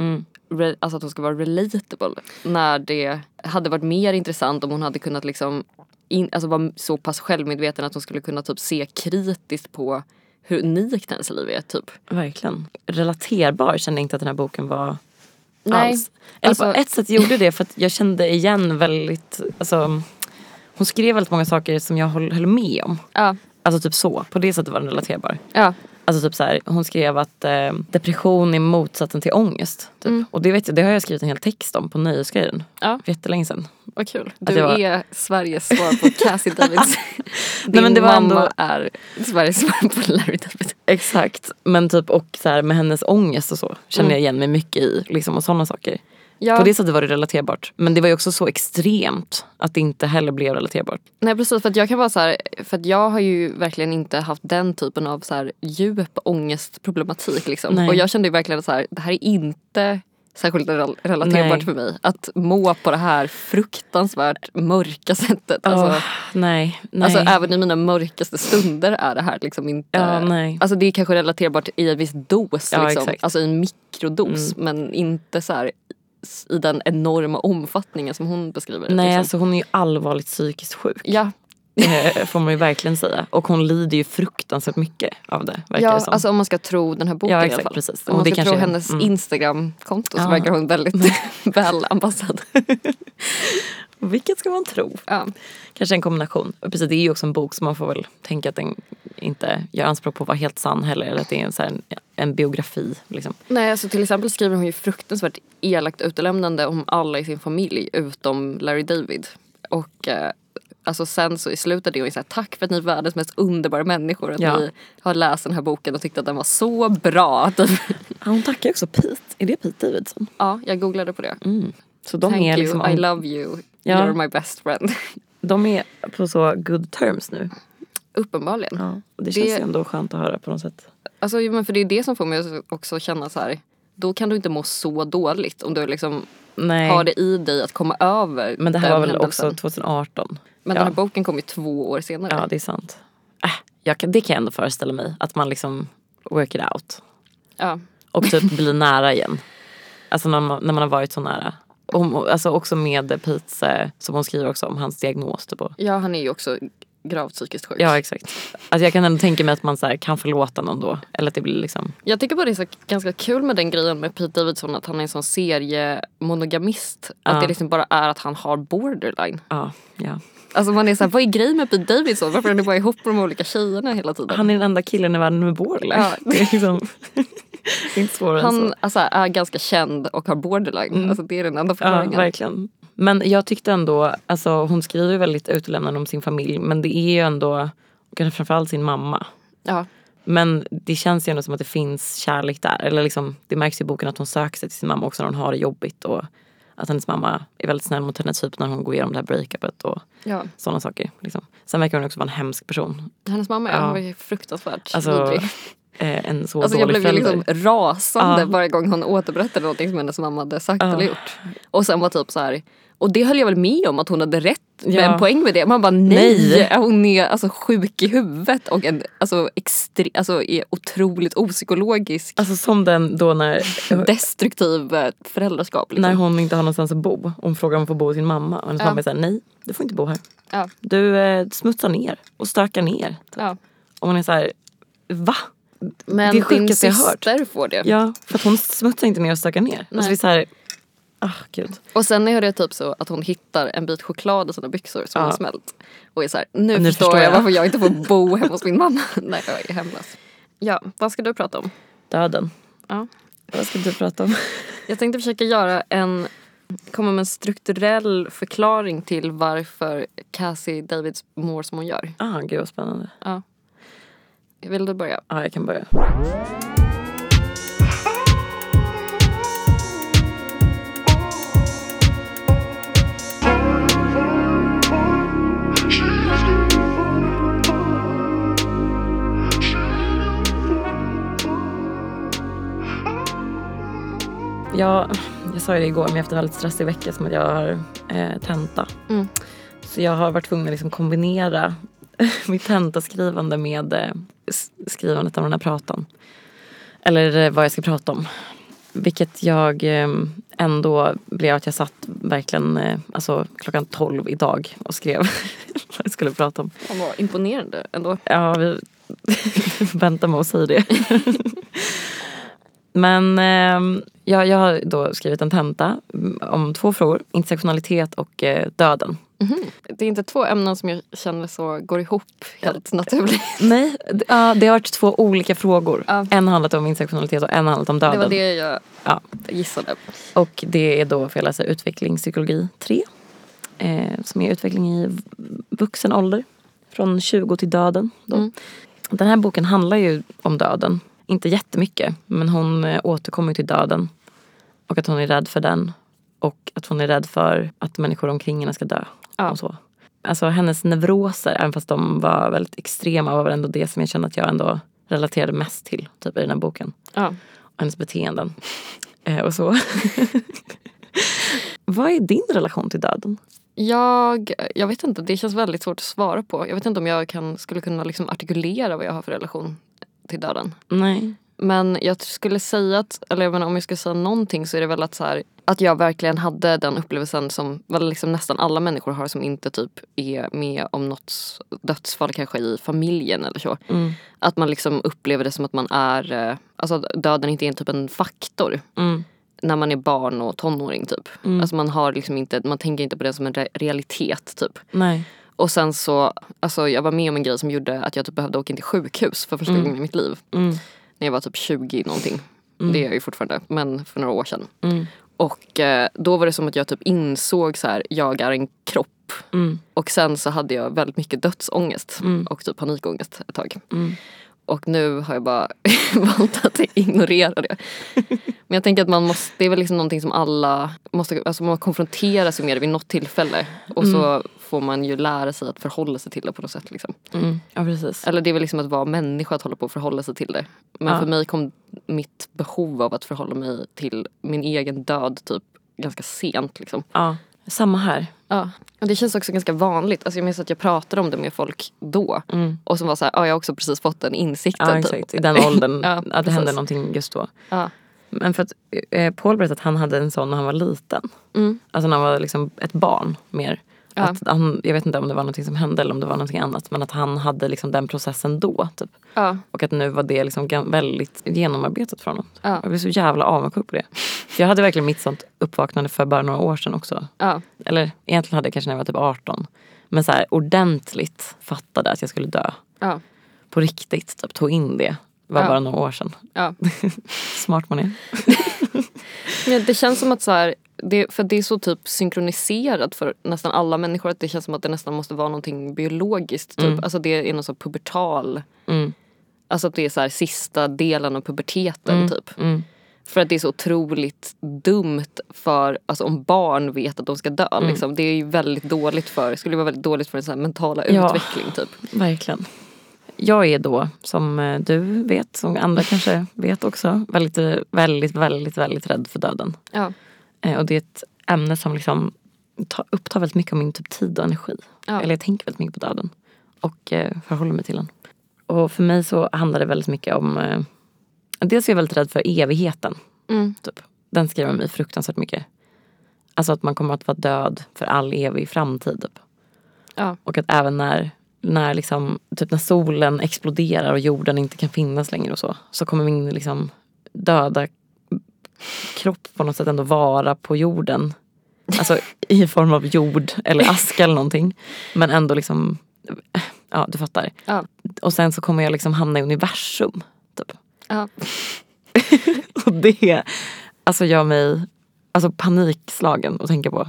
B: re, alltså att hon ska vara relatable. När det hade varit mer intressant om hon hade kunnat liksom, in, alltså vara så pass självmedveten att hon skulle kunna typ se kritiskt på hur unikt hennes liv är typ.
A: Verkligen. Relaterbar kände jag inte att den här boken var
B: Nej.
A: alls. Eller på
B: Alltså-
A: ett sätt gjorde det för att jag kände igen väldigt, alltså hon skrev väldigt många saker som jag höll, höll med om.
B: Ja,
A: Alltså typ så, på det sättet var den relaterbar.
B: ja,
A: Alltså typ så här, hon skrev att eh, depression är motsatsen till ångest. Typ. Och det, vet jag, det har jag skrivit en hel text om på Nöjesguiden.
B: Mm. Ja.
A: För jättelänge sedan.
B: vad kul.
A: Att
B: Du
A: jag var-
B: är Sveriges svar på Cassie Davids. Din
A: Nej, men det var
B: mamma
A: ändå-
B: är Sveriges svar på Larry David.
A: Exakt. Men typ och så här, med hennes ångest och så
B: Mm.
A: känner jag igen mig mycket i. Liksom, och sådana saker.
B: Ja.
A: På det sättet var det relaterbart. Men det var ju också så extremt att det inte heller blev relaterbart.
B: Nej precis för att jag kan vara så här, för att jag har ju verkligen inte haft den typen av så här djup ångestproblematik liksom.
A: Nej.
B: Och jag kände ju verkligen att så här, det här är inte särskilt rel- relaterbart
A: Nej.
B: för mig. Att må på det här fruktansvärt mörka sättet.
A: Åh,
B: Alltså,
A: nej, nej.
B: alltså även i mina mörkaste stunder är det här liksom inte...
A: Ja, nej.
B: Alltså det är kanske relaterbart i en viss dos
A: Ja,
B: liksom.
A: exakt. Mm.
B: Alltså i en mikrodos men inte så här i den enorma omfattningen som hon beskriver det.
A: nej,
B: liksom.
A: alltså hon är ju allvarligt psykiskt sjuk.
B: Ja,
A: eh, får man ju verkligen säga. Och hon lider ju fruktansvärt mycket av det. Verkar
B: Ja,
A: det som.
B: alltså om man ska tro den här boken
A: Ja,
B: i alla
A: exakt,
B: fall.
A: precis.
B: Om
A: Och
B: man
A: det
B: ska
A: kanske
B: tro
A: är-
B: hennes
A: mm.
B: Instagramkonto så
A: Ja. Mm.
B: verkar hon väldigt väl anpassad.
A: Vilket ska man tro?
B: ja.
A: Kanske en kombination. Och precis, det är ju också en bok som man får väl tänka att den inte gör anspråk på att vara helt sann heller. Eller att det är en, så här, en, en biografi. Liksom.
B: Nej, alltså till exempel skriver hon ju fruktansvärt elakt utelämnande om alla i sin familj utom Larry David. Och eh, Alltså sen så i slutet av det och säger tack för att ni är världens mest underbara människor. Att
A: Ja.
B: ni har läst den här boken och tyckte att den var så bra. Typ.
A: Ja, hon tackar också Pete. Är det Pete Davidson?
B: Ja, jag googlade på det.
A: Så de
B: Thank
A: är
B: you,
A: liksom
B: I love you.
A: Ja.
B: You're my best friend.
A: de är på så good terms nu.
B: Uppenbarligen.
A: Ja. Och det
B: Det-
A: känns ju ändå skönt att höra på något sätt.
B: Alltså, jo, men för det är det som får mig att också känna så här. Då kan du inte må så dåligt om du liksom
A: Nej.
B: har det i dig att komma över
A: Men det här
B: den
A: var väl
B: händelsen.
A: också 2018?
B: Men
A: ja.
B: den här boken kom ju två år senare.
A: Ja, det är sant. Äh, jag kan, det kan jag ändå föreställa mig. Att man liksom work it out.
B: Ja.
A: Och typ bli nära igen. Alltså när man, när man har varit så nära. Om, alltså också med Pete's, eh, som hon skriver också om, hans diagnos. Typ. och-
B: Ja, han är ju också gravt psykiskt sjuk.
A: Ja, exakt. Alltså jag kan ändå tänka mig att man så här, kan förlåta någon då. Eller att det blir liksom...
B: Jag tycker bara det är så ganska kul med den grejen med Pete Davidson att han är en sån seriemonogamist.
A: Ja.
B: Att det liksom bara är att han har borderline.
A: Ja, ja.
B: Alltså man är såhär, vad är grejen med Pete Davidson? Varför är ni bara ihop med de olika tjejerna hela tiden?
A: Han är den enda killen i världen med borderline.
B: Ja.
A: Det är liksom... det är inte svårare än så.
B: Han alltså, är ganska känd och har borderline. Alltså, det är den enda
A: Ja,
B: förklaringen.
A: verkligen. Men jag tyckte ändå, alltså hon skriver ju väldigt utelämnande om sin familj men det är ju ändå, kanske framförallt sin mamma.
B: Ja,
A: Men det känns ju ändå som att det finns kärlek där. Eller liksom, det märks ju i boken att hon söker sig till sin mamma också när hon har det jobbigt och att hennes mamma är väldigt snäll mot henne typ när hon går igenom det här breakupet och
B: ja.
A: sådana saker. Liksom. Sen verkar hon också vara en hemsk person.
B: Hennes mamma
A: Ja.
B: ja. var ju fruktansvärt
A: Alltså,
B: vidrig.
A: eh, en så
B: Alltså jag
A: dålig
B: blev ju
A: förälder.
B: liksom rasande
A: Ja.
B: varje gång hon återberättade någonting som hennes mamma hade sagt eller gjort. Och sen var typ så här. Och det höll jag väl med om att hon hade rätt med
A: Ja.
B: en poäng med det. Man bara nej!
A: Nej.
B: Hon är alltså sjuk i huvudet och en, alltså, extre, alltså, är otroligt opsykologisk,
A: Alltså som den då när
B: destruktiv eh, föräldraskap. Liksom.
A: När hon inte har någonstans att bo. Hon frågar om hon får bo hos sin mamma. Och hennes
B: Ja.
A: mamma säger nej, du får inte bo här.
B: Ja,
A: Du eh, smutsar ner och stökar ner.
B: ja.
A: Och man är så här, va?
B: Men
A: Det är
B: din
A: sjukaste jag hört.
B: syster får det.
A: Ja, för att hon smutsar inte ner och stökar ner. Och så
B: Nej.
A: det är så här, ah gud.
B: Och sen är det typ så att hon hittar en bit choklad i sina byxor som
A: Ja.
B: har smält. Och är så här, nu, förstår jag, varför jag inte får bo hemma hos min mamma. Nej, jag är hemlös. Ja, vad ska du prata om?
A: Döden.
B: Ja.
A: Vad ska du prata om?
B: Jag tänkte försöka göra en, komma med en strukturell förklaring till varför Cassie Davids mår som hon gör.
A: Ah, gud vad spännande.
B: Ja. Vill du börja?
A: Ja, ah, jag kan börja. Jag, jag sa ju det igår, men efter en väldigt stressig vecka som att jag har eh, tenta.
B: Mm.
A: Så jag har varit tvungen att liksom kombinera mitt tentaskrivande med eh, s- skrivandet av den här pratan. Eller eh, vad jag ska prata om. Vilket jag eh, ändå blev att jag satt verkligen eh, alltså, klockan 12 idag och skrev vad jag skulle prata om.
B: Hon var imponerande ändå.
A: Ja, vi väntar med att säga det. Men eh, jag, jag har då skrivit en tenta mm, om två frågor. Intersektionalitet och eh, döden.
B: Det är inte två ämnen som jag känner så går ihop helt naturligt.
A: Nej, d- ja, det har varit två olika frågor.
B: Ja.
A: En har handlat om intersektionalitet och en har handlat om
B: Det
A: döden.
B: var det jag
A: Ja.
B: gissade.
A: Och det är då, för jag läser utvecklingspsykologi 3. Eh, som är utveckling i v- vuxen ålder. Från 20 till döden. Då.
B: Mm.
A: Den här boken handlar ju om döden. Inte jättemycket, men hon eh, återkommer till döden. Och att hon är rädd för den. Och att hon är rädd för att människor omkring henne ska dö.
B: Ja.
A: Och så. Alltså hennes neuroser, även fast de var väldigt extrema, var väl ändå det som jag kände att jag ändå relaterade mest till typ, i den här boken
B: Ja.
A: och hennes beteenden. Eh, och så. Vad är din relation till döden?
B: Jag, jag vet inte, det känns väldigt svårt att svara på. Jag vet inte om jag kan, skulle kunna liksom artikulera vad jag har för relation till döden.
A: Nej.
B: Men jag skulle säga att, eller jag menar, om jag skulle säga någonting så är det väl att, så här, att jag verkligen hade den upplevelsen som väl liksom nästan alla människor har som inte typ är med om något dödsfall kanske i familjen eller så.
A: Mm.
B: Att man liksom upplever det som att man är, eh, alltså att döden inte är en typ en faktor
A: Mm.
B: när man är barn och tonåring typ. Alltså man har liksom inte, man tänker inte på det som en re- realitet typ.
A: Nej.
B: Och sen så, alltså jag var med om en grej som gjorde att jag typ behövde åka in till sjukhus för första gången i mitt liv.
A: Mm.
B: När jag var typ 20 någonting. Det är jag ju fortfarande, men för några år sedan.
A: Mm.
B: Och eh, då var det som att jag typ insåg så här, jag är en kropp upp.
A: mm,
B: Och sen så hade jag väldigt mycket dödsångest och typ panikångest ett tag.
A: mm,
B: Och nu har jag bara valt att ignorera det. Men jag tänker att man måste, det är väl liksom någonting som alla måste, alltså man konfronteras ju med det vid något tillfälle. Och så får man ju lära sig att förhålla sig till det på något sätt. Liksom.
A: Mm. Ja precis.
B: Eller det är väl liksom att vara människa att hålla på och förhålla sig till det. Men
A: Ja.
B: för mig kom mitt behov av att förhålla mig till min egen död typ ganska sent. Liksom.
A: Ja. Samma här.
B: Ja. Och det känns också ganska vanligt. Alltså jag minns att jag pratade om det med folk då. Och som var så här, ja jag har också precis fått den insikten.
A: Ja
B: Mm. typ.
A: exakt, i den åldern.
B: Ja,
A: att det
B: precis.
A: hände någonting just då.
B: Ja.
A: Men för att eh, Paul berättade att han hade en sån när han var liten.
B: Mm.
A: Alltså när han var liksom ett barn mer.
B: Ja.
A: Att han, jag vet inte om det var någonting som hände eller om det var någonting annat. Men att han hade liksom den processen då. Typ.
B: Ja.
A: Och att nu var det liksom gan- väldigt genomarbetat från honom.
B: Ja.
A: Jag blev så jävla avundsjuk på det. För jag hade verkligen mitt sånt uppvaknande för bara några år sedan också.
B: Ja.
A: Eller egentligen hade jag kanske när jag var typ 18. Men så här ordentligt fattade att jag skulle dö.
B: Ja.
A: På riktigt, typ, tog in det. Det var
B: Ja.
A: bara några år sedan.
B: ja.
A: Smart man är.
B: Men det känns som att så här, det, för det är så typ synkroniserat för nästan alla människor att det känns som att det nästan måste vara någonting biologiskt. Typ. Alltså det är någon sån pubertal,
A: Mm.
B: alltså att det är så här sista delen av puberteten typ.
A: Mm.
B: För att det är så otroligt dumt för, alltså om barn vet att de ska dö liksom. Det är ju väldigt dåligt för, skulle vara väldigt dåligt för den så här mentala
A: Ja.
B: utveckling typ.
A: Verkligen. Jag är då, som eh, du vet, som andra kanske vet också, väldigt, eh, väldigt, väldigt, väldigt rädd för döden.
B: Ja.
A: Eh, Och det är ett ämne som liksom ta- upptar väldigt mycket av min typ tid och energi.
B: Ja.
A: Eller jag tänker väldigt mycket på döden och eh, förhåller mig till den. Och för mig så handlar det väldigt mycket om... Eh, dels är jag väldigt rädd för evigheten.
B: Mm.
A: Typ. Den skrämmer mig fruktansvärt mycket. Alltså att man kommer att vara död för all evig framtid. Typ.
B: Ja.
A: Och att även när, när, liksom, typ när solen exploderar och jorden inte kan finnas längre och så. Så kommer min liksom, döda kropp på något sätt ändå vara på jorden. Alltså i form av jord eller aska eller någonting. Men ändå liksom, ja du fattar.
B: Ja.
A: Och sen så kommer jag liksom hamna i universum. Typ.
B: Ja.
A: Och det alltså, gör mig alltså, panikslagen att tänka på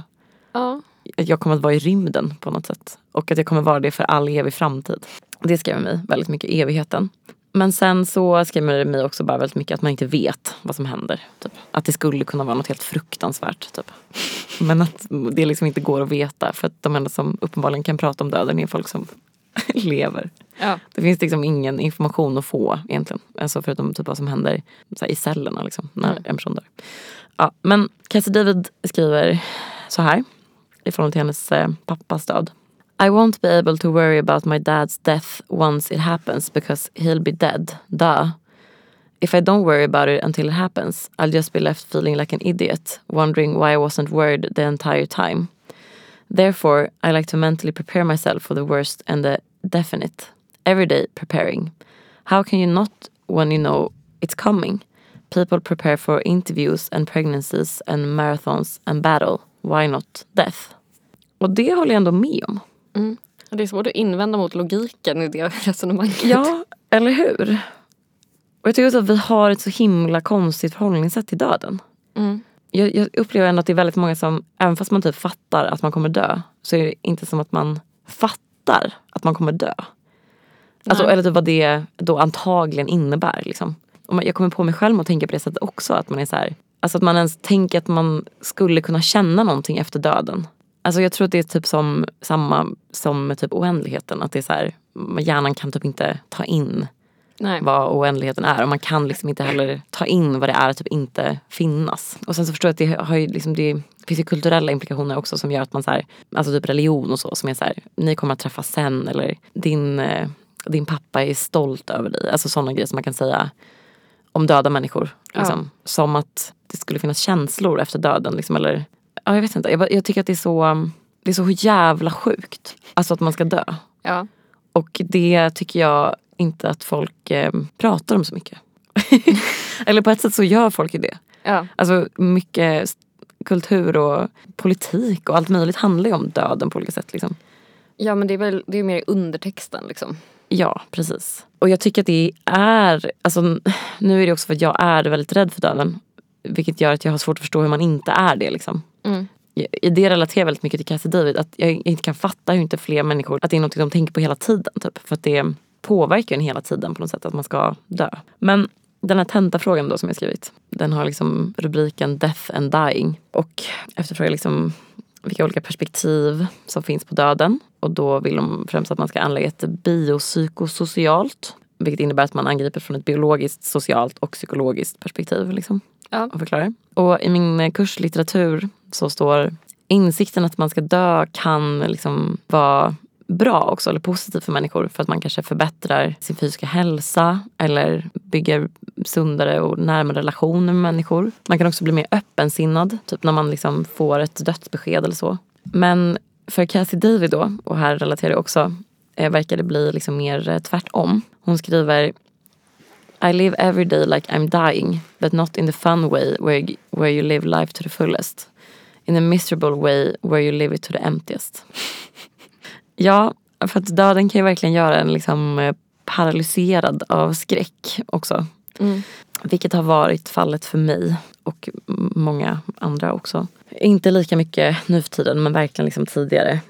B: Ja.
A: att jag kommer att vara i rymden på något sätt. Och att jag kommer vara det för all evig framtid. Det skrämmer mig väldigt mycket, evigheten. Men sen så skrämmer det mig också bara väldigt mycket att man inte vet vad som händer. Typ. Att det skulle kunna vara något helt fruktansvärt. Typ. Men att det liksom inte går att veta för att de enda som uppenbarligen kan prata om döden är folk som lever.
B: Ja.
A: Det finns liksom ingen information att få egentligen. Alltså förutom typ vad som händer så här, i cellerna liksom, när en person dör. Ja, men Cassie David skriver så här i förhållande till hennes eh, pappas död. I won't be able to worry about my dad's death once it happens because he'll be dead. Duh. If I don't worry about it until it happens I'll just be left feeling like an idiot wondering why I wasn't worried the entire time. Therefore, I like to mentally prepare myself for the worst and the definite. Every day preparing. How can you not when you know it's coming? People prepare for interviews and pregnancies and marathons and battle. Why not death? Och det håller jag ändå med om.
B: Det är svårt att invända mot logiken i det resonemanget.
A: Ja, eller hur? Och jag tycker också att vi har ett så himla konstigt förhållningssätt till döden.
B: Mm.
A: Jag, jag upplever ändå att det är väldigt många som, även fast man typ fattar att man kommer dö, så är det inte som att man fattar att man kommer dö. Alltså,
B: Nej.
A: eller typ vad det då antagligen innebär. Liksom. Och man, jag kommer på mig själv att tänka på det sättet också. Att man är så här, alltså att man ens tänker att man skulle kunna känna någonting efter döden. Alltså jag tror att det är typ som, samma som med typ oändligheten. Att det är så här, hjärnan kan typ inte ta in
B: Nej.
A: vad oändligheten är. Och man kan liksom inte heller ta in vad det är att typ inte finnas. Och sen så förstår jag att det, har ju liksom, det finns ju kulturella implikationer också som gör att man så här, alltså typ religion och så som är så här, ni kommer att träffas sen eller din, eh, din pappa är stolt över dig. Alltså sådana grejer som man kan säga om döda människor. Liksom. Som att det skulle finnas känslor efter döden. Liksom, eller, ja, jag vet inte, jag, bara- jag tycker att det är, så, um, det är så jävla sjukt. Alltså att man ska dö.
B: Ja.
A: Och det tycker jag inte att folk eh, pratar om så mycket. Eller på ett sätt så gör folk ju det.
B: Ja.
A: Alltså mycket s- kultur och politik och allt möjligt handlar ju om döden på olika sätt. Liksom.
B: Ja men det är väl det är mer i undertexten liksom.
A: Ja, precis. Och jag tycker att det är, alltså n- nu är det också för att jag är väldigt rädd för döden. Vilket gör att jag har svårt att förstå hur man inte är det liksom.
B: Mm.
A: jag- det relaterar väldigt mycket till Cassie David. Att jag inte kan fatta hur inte fler människor, att det är något de tänker på hela tiden. Typ. För att det påverkar ju en hela tiden på något sätt att man ska dö. Men den här tentafrågan då som jag skrivit. Den har liksom rubriken Death and Dying. Och efterfrågar liksom vilka olika perspektiv som finns på döden. Och då vill de främst att man ska anlägga ett biopsykosocialt. Vilket innebär att man angriper från ett biologiskt, socialt och psykologiskt perspektiv. Liksom
B: Ja.
A: och förklarar. Och i min eh, kurs litteratur så står insikten att man ska dö kan liksom vara bra också eller positivt för människor för att man kanske förbättrar sin fysiska hälsa eller bygger sundare och närmare relationer med människor. Man kan också bli mer öppensinnad, typ när man liksom får ett dödsbesked eller så. Men för Cassie Davy då, och här relaterar jag också, eh, verkar det bli liksom mer eh, tvärtom. Hon skriver I live every day like I'm dying, but not in the fun way where you, where you live life to the fullest. In a miserable way where you live it to the emptiest. ja, för att döden kan ju verkligen göra en liksom eh, paralyserad av skräck också.
B: Mm.
A: Vilket har varit fallet för mig och m- många andra också. Inte lika mycket nu för tiden men verkligen liksom tidigare.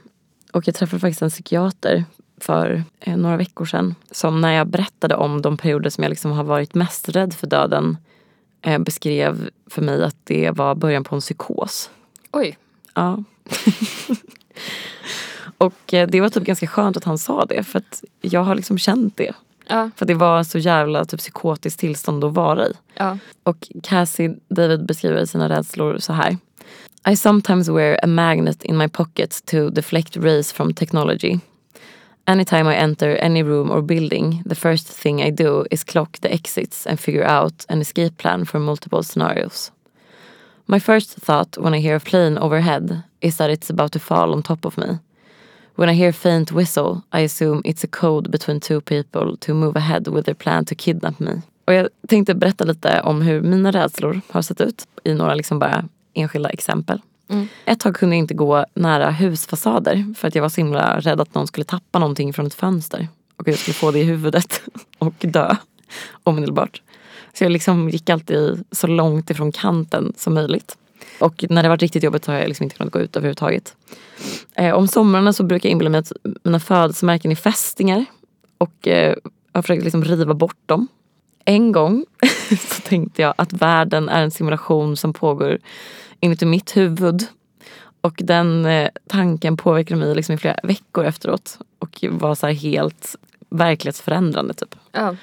A: Och jag träffade faktiskt en psykiater för eh, några veckor sedan. Som när jag berättade om de perioder som jag liksom har varit mest rädd för döden eh, beskrev för mig att det var början på en psykos.
B: Oj.
A: Ja. och eh, det var typ ganska skönt att han sa det för att jag har liksom känt det.
B: Ja.
A: För att det var så jävla typ psykotiskt tillstånd att vara i.
B: Ja.
A: Och Cassie David beskriver sina rädslor så här. I sometimes wear a magnet in my pocket to deflect rays from technology. Anytime I enter any room or building, the first thing I do is clock the exits and figure out an escape plan for multiple scenarios. My first thought when I hear a plane overhead is that it's about to fall on top of me. When I hear faint whistle, I assume it's a code between two people to move ahead with their plan to kidnap me. Och jag tänkte berätta lite om hur mina rädslor har sett ut i några liksom bara enskilda exempel. Ett tag kunde jag inte gå nära husfasader för att jag var så himla rädd att någon skulle tappa någonting från ett fönster och jag skulle få det i huvudet och dö omedelbart. Så jag liksom gick alltid så långt ifrån kanten som möjligt. Och när det var riktigt jobbigt har jag liksom inte kunnat gå ut överhuvudtaget. Eh, om somrarna så brukar jag inbilla mig att mina födelsemärken är fästingar. Och eh, jag försöker liksom riva bort dem. En gång så tänkte jag att världen är en simulation som pågår inuti mitt huvud. Och den eh, tanken påverkade mig liksom i flera veckor efteråt. Och var så här helt verklighetsförändrande typ.
B: Ja.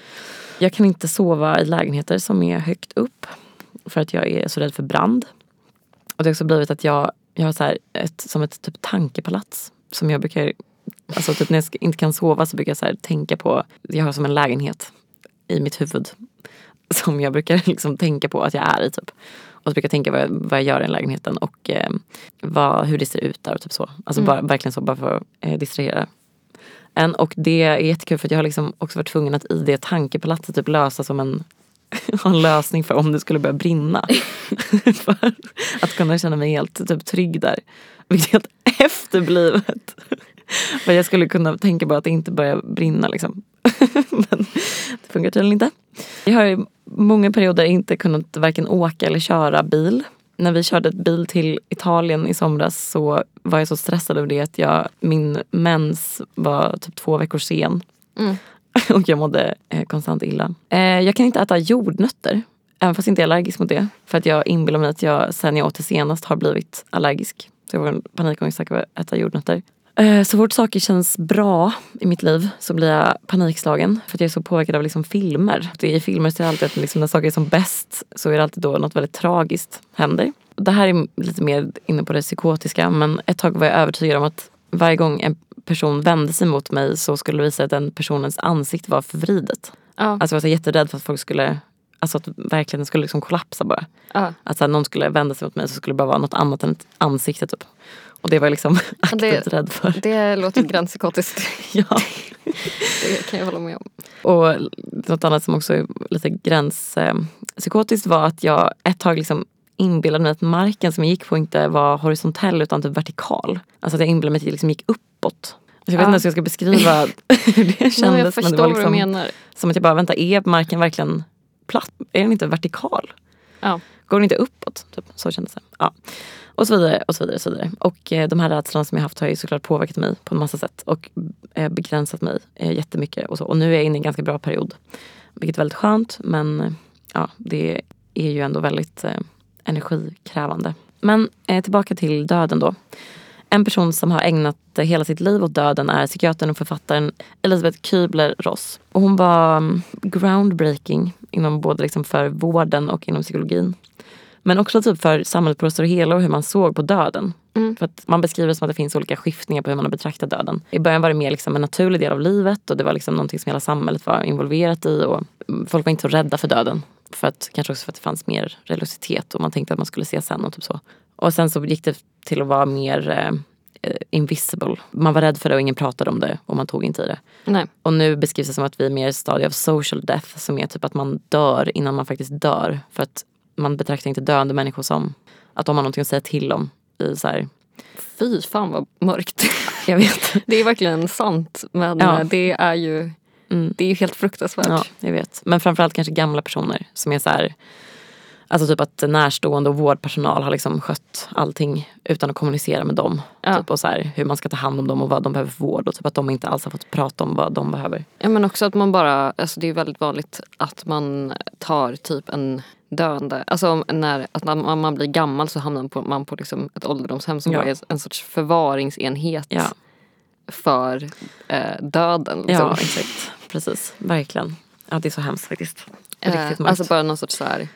A: Jag kan inte sova i lägenheter som är högt upp för att jag är så rädd för brand. Och det har också blivit att jag, jag har så här ett, som ett typ tankepalats som jag brukar, alltså typ när jag ska- inte kan sova så brukar jag så här tänka på, jag har som en lägenhet i mitt huvud som jag brukar liksom tänka på att jag är i typ. Och så brukar jag tänka vad jag, vad jag gör i den lägenheten och eh, vad, hur det ser ut där och typ så. Alltså bara, verkligen så bara för att eh, distrahera en. Och det är jättekul för att jag har liksom också varit tvungen att i det tankepalatset typ lösa som en, ha en lösning för om det skulle börja brinna. för att kunna känna mig helt typ, trygg där. Vilket är helt efterblivet. Men jag skulle kunna tänka bara att det inte börjar brinna liksom. Men det funkar tydligen inte. Jag har i många perioder inte kunnat varken åka eller köra bil. När vi körde ett bil till Italien i somras så var jag så stressad över det att jag, min mens var typ två veckor sen.
B: Mm.
A: Och jag mådde eh, konstant illa. Eh, jag kan inte äta jordnötter. Även fast jag inte är allergisk mot det. För att jag inbillar mig att jag sen jag åt det senast har blivit allergisk. Så jag får en panikångestattack av att äta jordnötter. Eh, så fort saker känns bra i mitt liv så blir jag panikslagen. För att jag är så påverkad av liksom filmer. Det är I filmer så är det alltid att liksom när saker är som bäst så är det alltid då något väldigt tragiskt händer. Det här är lite mer inne på det psykotiska men ett tag var jag övertygad om att varje gång en person vände sig mot mig så skulle det visa sig att den personens ansikte var förvridet.
B: Ja.
A: Alltså jag var så jätterädd för att folk skulle, alltså att verkligen skulle liksom kollapsa bara.
B: Ja.
A: Att så här, någon skulle vända sig mot mig så skulle det bara vara något annat än ett ansikte typ. Och det var jag liksom aktivt rädd för.
B: Det låter gränspsykotiskt.
A: Ja.
B: Det kan jag hålla med om.
A: Och något annat som också är lite gränspsykotiskt var att jag ett tag liksom inbillade mig att marken som jag gick på inte var horisontell utan typ vertikal. Alltså att jag inbillade mig att jag liksom gick uppåt. Alltså jag vet
B: Ja.
A: inte ens hur jag ska beskriva hur det kändes.
B: Nej, men
A: men
B: jag
A: det
B: förstår
A: var
B: vad du
A: liksom
B: menar.
A: som att jag bara, vänta är marken verkligen platt? Är den inte vertikal?
B: Ja.
A: Går den inte uppåt? Typ. Så kändes det. Ja. Och så vidare och så vidare. Och, så vidare. och eh, de här rädslorna som jag haft har ju såklart påverkat mig på en massa sätt och eh, begränsat mig eh, jättemycket. Och, så. och nu är jag inne i en ganska bra period. Vilket är väldigt skönt men eh, ja, det är ju ändå väldigt eh, energikrävande. Men eh, tillbaka till döden då. En person som har ägnat eh, hela sitt liv åt döden är psykiatern och författaren Elisabeth Kübler-Ross. Och hon var mm, groundbreaking inom både liksom för vården och inom psykologin. Men också typ för samhället på det stora hela och hur man såg på döden. För att man beskriver det som att det finns olika skiftningar på hur man har betraktat döden. I början var det mer liksom en naturlig del av livet och det var liksom någonting som hela samhället var involverat i. Och mm, folk var inte så rädda för döden. För att, kanske också för att det fanns mer religiositet och man tänkte att man skulle se sen och typ så. Och sen så gick det till att vara mer eh, eh, invisible. Man var rädd för det och ingen pratade om det och man tog inte i det.
B: Nej.
A: Och nu beskrivs det som att vi är mer i ett stadie av social death som är typ att man dör innan man faktiskt dör. För att man betraktar inte döende människor som att de har någonting att säga till om. I så här,
B: Fy fan vad mörkt.
A: jag vet.
B: det är verkligen sant men
A: Ja.
B: eh, det är ju
A: Mm.
B: Det är ju helt fruktansvärt.
A: Ja, jag vet. Men framförallt kanske gamla personer som är så här Alltså typ att närstående och vårdpersonal har liksom skött allting utan att kommunicera med dem.
B: Ja.
A: Typ och så här, hur man ska ta hand om dem och vad de behöver för vård. Och typ att de inte alls har fått prata om vad de behöver.
B: Ja, men också att man bara, alltså det är väldigt vanligt att man tar typ en döende, alltså om- när, att när man man blir gammal så hamnar man på, man på liksom ett ålderdomshem som
A: Ja.
B: bara är en sorts förvaringsenhet
A: Ja,
B: för eh, döden.
A: ja
B: Liksom.
A: exakt. Precis, verkligen. Ja, det är så hemskt faktiskt. Riktigt
B: eh,
A: mörkt.
B: alltså bara någon sorts så här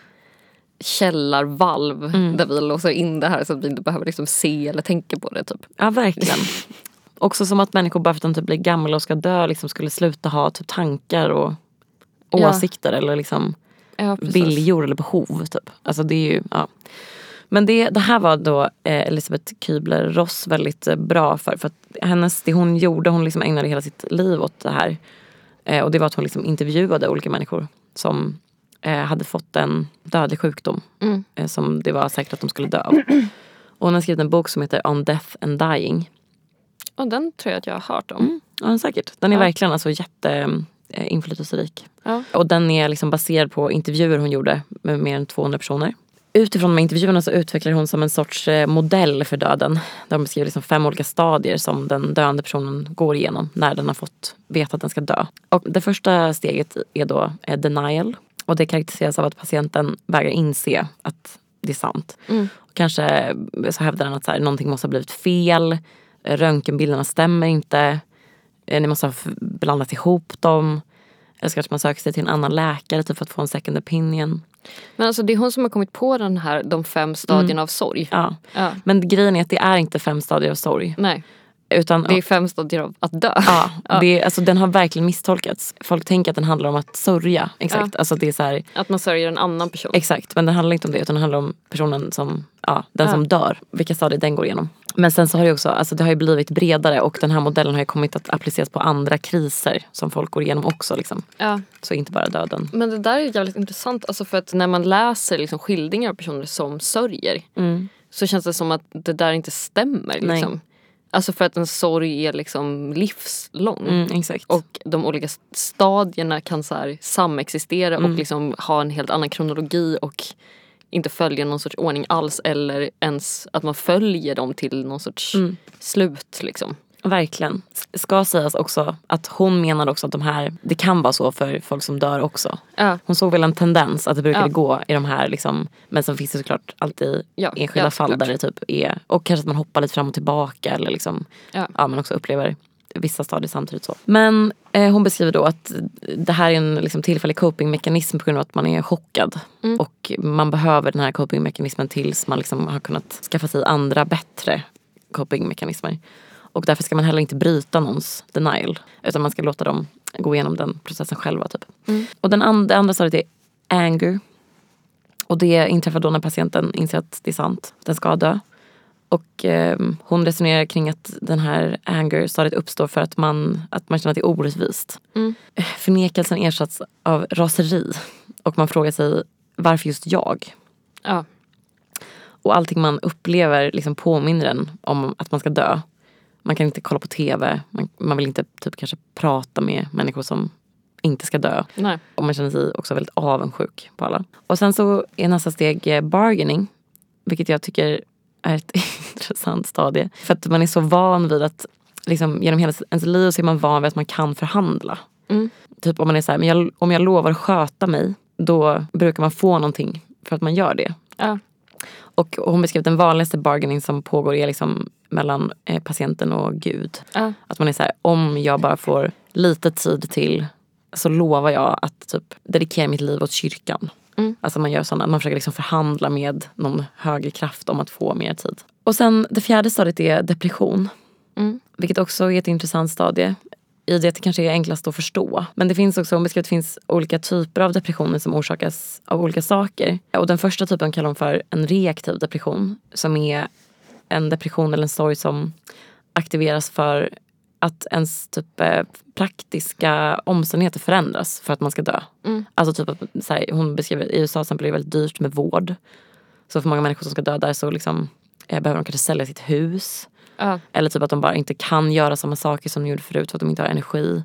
B: källarvalv där vi låser in det här så att vi inte behöver liksom se eller tänka på det. Typ.
A: Ja, verkligen. Också som att människor bara för att de typ blir gamla och ska dö liksom skulle sluta ha typ tankar och
B: Ja.
A: åsikter eller liksom
B: Ja,
A: viljor eller behov. Typ. Alltså det är ju, ja. Men det, det här var då eh, Elisabeth Kübler-Ross väldigt eh, bra för. för att hennes, det hon gjorde, hon liksom ägnade hela sitt liv åt det här. Eh, och det var att hon liksom intervjuade olika människor som eh, hade fått en dödlig sjukdom. Eh, som det var säkert att de skulle dö av. Och hon har skrivit en bok som heter On Death and Dying.
B: Och den tror jag att jag har hört om.
A: Ja, den säkert. Den är verkligen alltså jätteinflytelserik.
B: Ja.
A: Och den är liksom baserad på intervjuer hon gjorde med mer än 200 personer. Utifrån de här intervjuerna så utvecklar hon som en sorts eh, modell för döden. Där hon beskriver liksom fem olika stadier som den döende personen går igenom när den har fått veta att den ska dö. Och det första steget är då eh, denial. Och det karaktäriseras av att patienten vägrar inse att det är sant. Och kanske eh, så hävdar den att så här, någonting måste ha blivit fel. eh, Röntgenbilderna stämmer inte. Eh, Ni måste ha f- blandat ihop dem. Eller så kanske man söker sig till en annan läkare typ för att få en second opinion.
B: Men alltså det är hon som har kommit på den här, de fem stadierna av sorg.
A: Mm. Ja.
B: Ja.
A: Men grejen är att det är inte fem stadier av sorg.
B: Nej.
A: Utan,
B: Det är fem stadier av att dö.
A: ja, Det, alltså, den har verkligen misstolkats. Folk tänker att den handlar om att sörja. Exakt. Alltså, det är så här,
B: Att man sörjer en annan person.
A: Exakt, men den handlar inte om det utan den handlar om personen som, ja, den som dör. Vilka stadier den går igenom. Men sen så har det också, alltså det har ju blivit bredare och den här modellen har ju kommit att appliceras på andra kriser som folk går igenom också liksom.
B: Ja.
A: Så inte bara döden.
B: Men det där är jävligt intressant. Alltså för att när man läser liksom skildringar av personer som sörjer så känns det som att det där inte stämmer.
A: Mm. Nej.
B: Liksom. Alltså för att en sorg är liksom livslång.
A: Mm, exakt.
B: Och de olika stadierna kan så här samexistera och liksom ha en helt annan kronologi och inte följa någon sorts ordning alls eller ens att man följer dem till någon sorts slut. Liksom.
A: Verkligen. S- Ska sägas också att hon menar också att de här, det kan vara så för folk som dör också.
B: Ja.
A: Hon såg väl en tendens att det brukade
B: Ja.
A: gå i de här liksom, men sen finns det såklart alltid
B: Ja,
A: enskilda
B: ja,
A: fall där
B: såklart.
A: det typ är, och kanske att man hoppar lite fram och tillbaka eller liksom,
B: Ja.
A: ja men också upplever vissa stadier samtidigt så. Men eh, hon beskriver då att det här är en liksom, tillfällig copingmekanism på grund av att man är chockad. Och man behöver den här copingmekanismen tills man liksom har kunnat skaffa sig andra bättre copingmekanismer. Och därför ska man heller inte bryta någons denial. Utan man ska låta dem gå igenom den processen själva. Typ. Och den and- det andra stadiet är anger. Och det inträffar då när patienten inser att det är sant. Den ska dö. Och ehm, hon resonerar kring att den här anger stadiet uppstår för att man, att man känner att det är orättvist. Eh, Förnekelsen ersatts av raseri. Och man frågar sig varför just jag?
B: Ja.
A: Och allting man upplever liksom påminner en om att man ska dö. Man kan inte kolla på tv, man, man vill inte typ kanske prata med människor som inte ska dö.
B: Nej.
A: Och man känner sig också väldigt avundsjuk på alla. Och sen så är nästa steg eh, bargaining. Vilket jag tycker är ett intressant stadie. För att man är så van vid att liksom, genom hela ens liv så är man van vid att man kan förhandla.
B: Mm.
A: Typ om man är så här, men jag, om jag lovar att sköta mig då brukar man få någonting för att man gör det.
B: Ja.
A: Och hon beskrev den vanligaste bargaining som pågår är liksom mellan eh, patienten och Gud.
B: Ja.
A: Att man är så här, om jag bara får lite tid till så lovar jag att typ dedikera mitt liv åt kyrkan.
B: Mm.
A: Alltså man gör sådana, man försöker liksom förhandla med någon högre kraft om att få mer tid. Och sen det fjärde stadiet är depression.
B: Mm.
A: Vilket också är ett intressant stadie. I det att det kanske är enklast att förstå. Men det finns också, hon beskrev att det finns olika typer av depressioner som orsakas av olika saker. Och den första typen kallar hon för en reaktiv depression. Som är en depression eller en sorg som aktiveras för att ens typ eh, praktiska omständigheter förändras för att man ska dö. Alltså typ att, så här, hon beskriver, i USA till exempel är det väldigt dyrt med vård. Så för många människor som ska dö där så liksom, eh, behöver de kanske sälja sitt hus.
B: Ja.
A: Eller typ att de bara inte kan göra samma saker som de gjorde förut för att de inte har energi.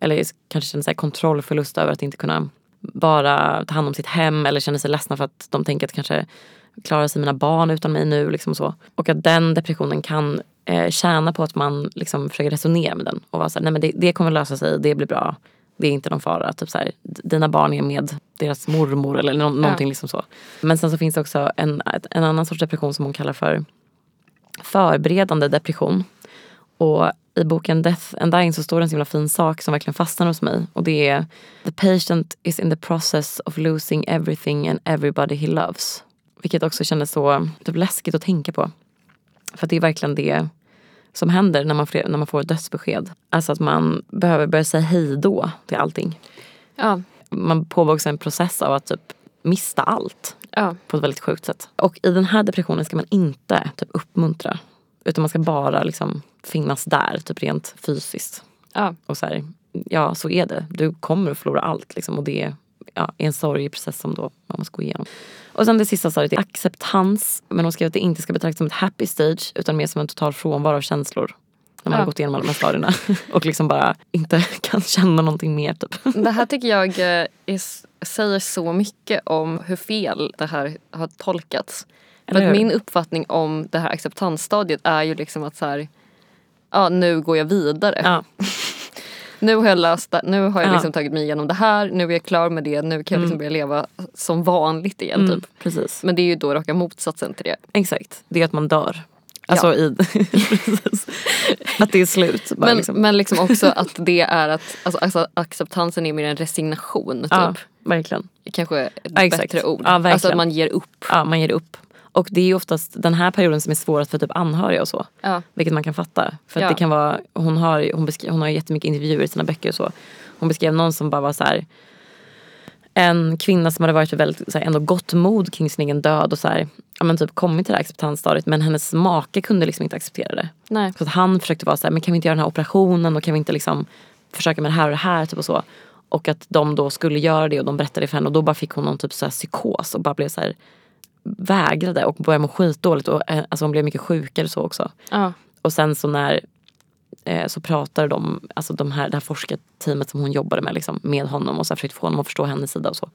A: Eller kanske känner sig kontrollförlust över att inte kunna bara ta hand om sitt hem eller känner sig ledsna för att de tänker att kanske klarar sig mina barn utan mig nu. Liksom så. Och att den depressionen kan eh, tjäna på att man liksom försöker resonera med den och vara såhär, nej men det, det kommer lösa sig, det blir bra. Det är inte någon fara. Typ såhär, d- dina barn är med deras mormor eller nå- någonting liksom så. Men sen så finns det också en, ett- en annan sorts depression som hon kallar för förberedande depression. Och i boken Death and Dying så står det en så himla fin sak som verkligen fastnar hos mig. Och det är The patient is in the process of losing everything and everybody he loves. Vilket också kändes så typ, läskigt att tänka på. För att det är verkligen det som händer när man, fre- när man får ett dödsbesked. Alltså att man behöver börja säga hej då till allting.
B: Ja.
A: Man pågår också en process av att typ mista allt
B: Ja.
A: på ett väldigt sjukt sätt. Och i den här depressionen ska man inte typ uppmuntra. Utan man ska bara liksom finnas där, typ rent fysiskt.
B: Ja.
A: Och så här, ja så är det. Du kommer att förlora allt liksom. Och det ja, är en sorglig process som då man måste gå igenom. Och sen det sista stadiet är acceptans. Men hon skrev att det inte ska betraktas som ett happy stage utan mer som en total frånvaro av känslor. När man
B: Ja.
A: har gått igenom alla de här stadierna. Och liksom bara inte kan känna någonting mer typ.
B: Det här tycker jag eh, är, s- säger så mycket om hur fel det här har tolkats.
A: Eller
B: För att
A: hur?
B: min uppfattning om det här acceptansstadiet är ju liksom att så här, ja, nu går jag vidare.
A: Ja,
B: Nu har jag löst det, nu har jag
A: Ja.
B: liksom tagit mig igenom det här, nu är jag klar med det, nu kan jag liksom börja leva som vanligt igen.
A: mm,
B: Typ.
A: precis.
B: Men det är ju då raka motsatsen till det.
A: Exakt, det är att man dör. Alltså i... Precis. att det är slut. Bara
B: Men,
A: liksom.
B: men liksom också att det är att alltså, alltså, acceptansen är mer en resignation. Typ.
A: Ja, verkligen.
B: Kanske ett
A: Ja, exakt.
B: bättre ord.
A: Ja, verkligen.
B: alltså att man ger upp.
A: Ja, man ger upp. Och det är ju oftast den här perioden som är svårast för typ anhöriga och så.
B: Ja.
A: Vilket man kan fatta. För att
B: Ja.
A: det kan vara, hon har, hon, beskri- hon har jättemycket intervjuer i sina böcker och så. Hon beskrev någon som bara var så här. En kvinna som hade varit väldigt, så här, ändå gott mod kring sin egen död och så här, ja, men typ kommit till det här acceptansstadiet men hennes make kunde liksom inte acceptera det.
B: Nej.
A: Så att han försökte vara så här, men kan vi inte göra den här operationen och kan vi inte liksom försöka med det här och det här typ och så. Och att de då skulle göra det och de berättade det för henne och då bara fick hon någon typ så här psykos och bara blev så här vägrade och började må skitdåligt och eh, alltså hon blev mycket sjukare och så också.
B: Ja.
A: Och sen så när eh, så pratade de, alltså de här, det här forskarteamet som hon jobbade med, liksom, med honom och så här försökte få honom att förstå hennes sida och så.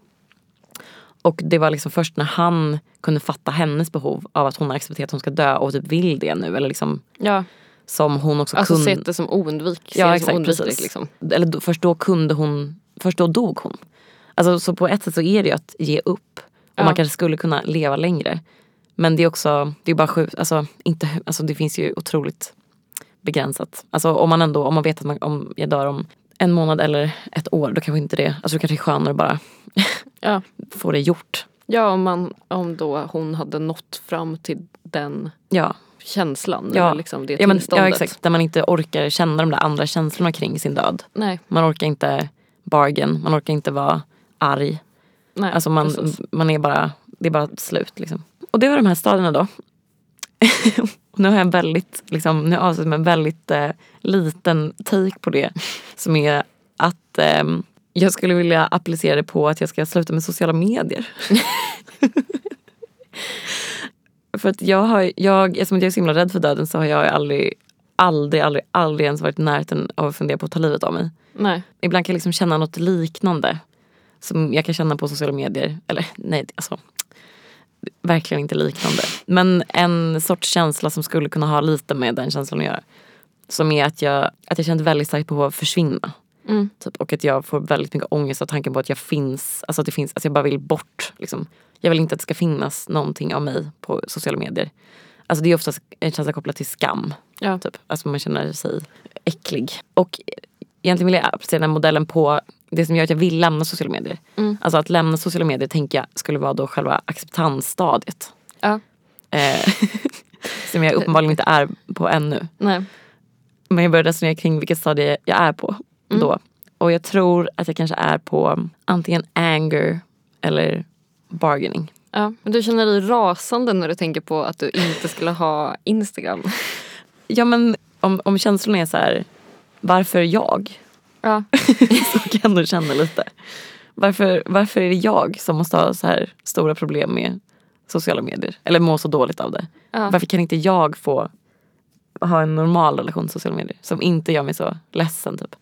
A: Och det var liksom först när han kunde fatta hennes behov av att hon har accepterat att hon ska dö och typ vill det nu eller liksom
B: Ja.
A: som hon också
B: Alltså
A: kunde.
B: se det som oundvikligt.
A: Ja,
B: det
A: exakt,
B: som oundvikligt
A: precis.
B: liksom.
A: Eller då, först då kunde hon, först då dog hon. Alltså, så på ett sätt så är det ju att ge upp. Och
B: Ja.
A: man kanske skulle kunna leva längre. Men det är också, det är bara sjukt, alltså, inte, alltså det finns ju otroligt begränsat. Alltså om man ändå, om man vet att man, om jag dör om en månad eller ett år, då kanske inte det, alltså då kanske det är skönare att bara
B: Ja.
A: få det gjort.
B: Ja, om, man, om då hon hade nått fram till den
A: Ja,
B: känslan.
A: Ja.
B: Eller liksom det
A: ja, men,
B: tillståndet.
A: ja exakt. Där man inte orkar känna de där andra känslorna kring sin död.
B: Nej,
A: Man orkar inte bargain, man orkar inte vara arg.
B: nej.
A: Alltså man,
B: precis.
A: man är bara, det är bara slut liksom. Och det var de här stadierna då. Och nu har jag en väldigt, liksom, nu har jag avslutat med en väldigt eh, liten take på det. Som är att ehm, jag skulle vilja applicera det på att jag ska sluta med sociala medier. För att jag har, jag, eftersom att jag är så himla rädd för döden så har jag aldrig aldrig, aldrig, aldrig ens varit i närheten av att fundera på att ta livet av mig.
B: Nej.
A: Ibland kan jag liksom känna något liknande som jag kan känna på sociala medier. Eller nej, alltså verkligen inte liknande. Men en sorts känsla som skulle kunna ha lite med den känslan att göra. Som är att jag, att jag känner ett väldigt starkt behov av att försvinna.
B: Mm.
A: Typ, och att jag får väldigt mycket ångest av tanken på att jag finns, alltså att det finns, alltså jag bara vill bort. Liksom. Jag vill inte att det ska finnas någonting av mig på sociala medier. Alltså det är oftast en känsla kopplad till skam.
B: Ja.
A: Typ. Alltså man känner sig äcklig. Och egentligen vill jag applicera den här modellen på det som gör att jag vill lämna sociala medier.
B: Mm.
A: Alltså att lämna sociala medier tänker jag skulle vara då själva acceptansstadiet.
B: Ja.
A: Eh, som jag uppenbarligen inte är på ännu.
B: Nej.
A: Men jag började resonera kring vilket stadie jag är på då. Och jag tror att jag kanske är på antingen anger eller bargaining.
B: Ja. Men du känner dig rasande när du tänker på att du inte skulle ha Instagram.
A: Ja men om, om känslorna är så här, varför jag?
B: Ja.
A: så kan jag nog känna lite. Varför, varför är det jag som måste ha så här stora problem med sociala medier? Eller må så dåligt av det?
B: Ja.
A: Varför kan inte jag få ha en normal relation till sociala medier? Som inte gör mig så ledsen typ.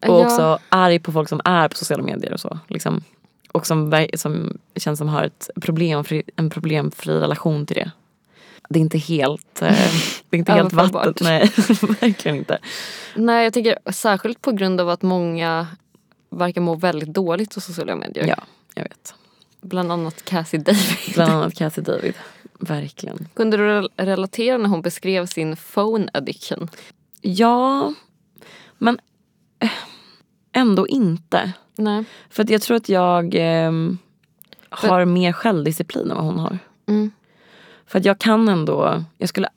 A: Och
B: Ja.
A: också arg på folk som är på sociala medier och så. Liksom. Och som, ver- som känns som har ett problemfri, en problemfri relation till det. Det är inte helt, eh, det är inte helt
B: Överförbart.
A: vatten. Nej, verkligen inte.
B: Nej, jag tänker särskilt på grund av att många verkar må väldigt dåligt på sociala medier.
A: Ja, jag vet.
B: Bland annat Cassie David.
A: Bland annat Cassie David. Verkligen.
B: Kunde du rel- relatera när hon beskrev sin phone addiction?
A: Ja, men eh, ändå inte.
B: Nej.
A: För att jag tror att jag ehm, har mer självdisciplin än vad hon har.
B: Mm.
A: För att jag kan ändå, jag skulle,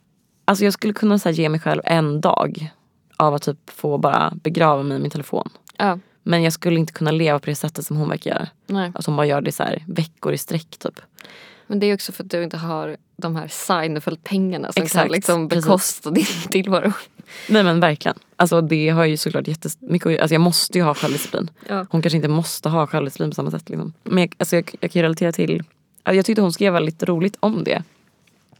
A: alltså jag skulle kunna så här, ge mig själv en dag av att typ få bara begrava mig i min telefon.
B: Ja.
A: Men jag skulle inte kunna leva på det sättet som hon verkar göra.
B: Nej.
A: Att hon bara gör det så här veckor i sträck typ.
B: Men det är också för att du inte har de här Seinfeld-pengarna som
A: Exakt,
B: kan liksom
A: precis.
B: bekosta din tillvaro.
A: Nej men verkligen. Alltså det har ju såklart jättemycket att- Alltså jag måste ju ha självdisciplin.
B: Ja.
A: Hon kanske inte måste ha självdisciplin på samma sätt. Liksom. Men jag, alltså jag, jag kan ju relatera till... alltså Jag tyckte hon skrev väldigt roligt om det.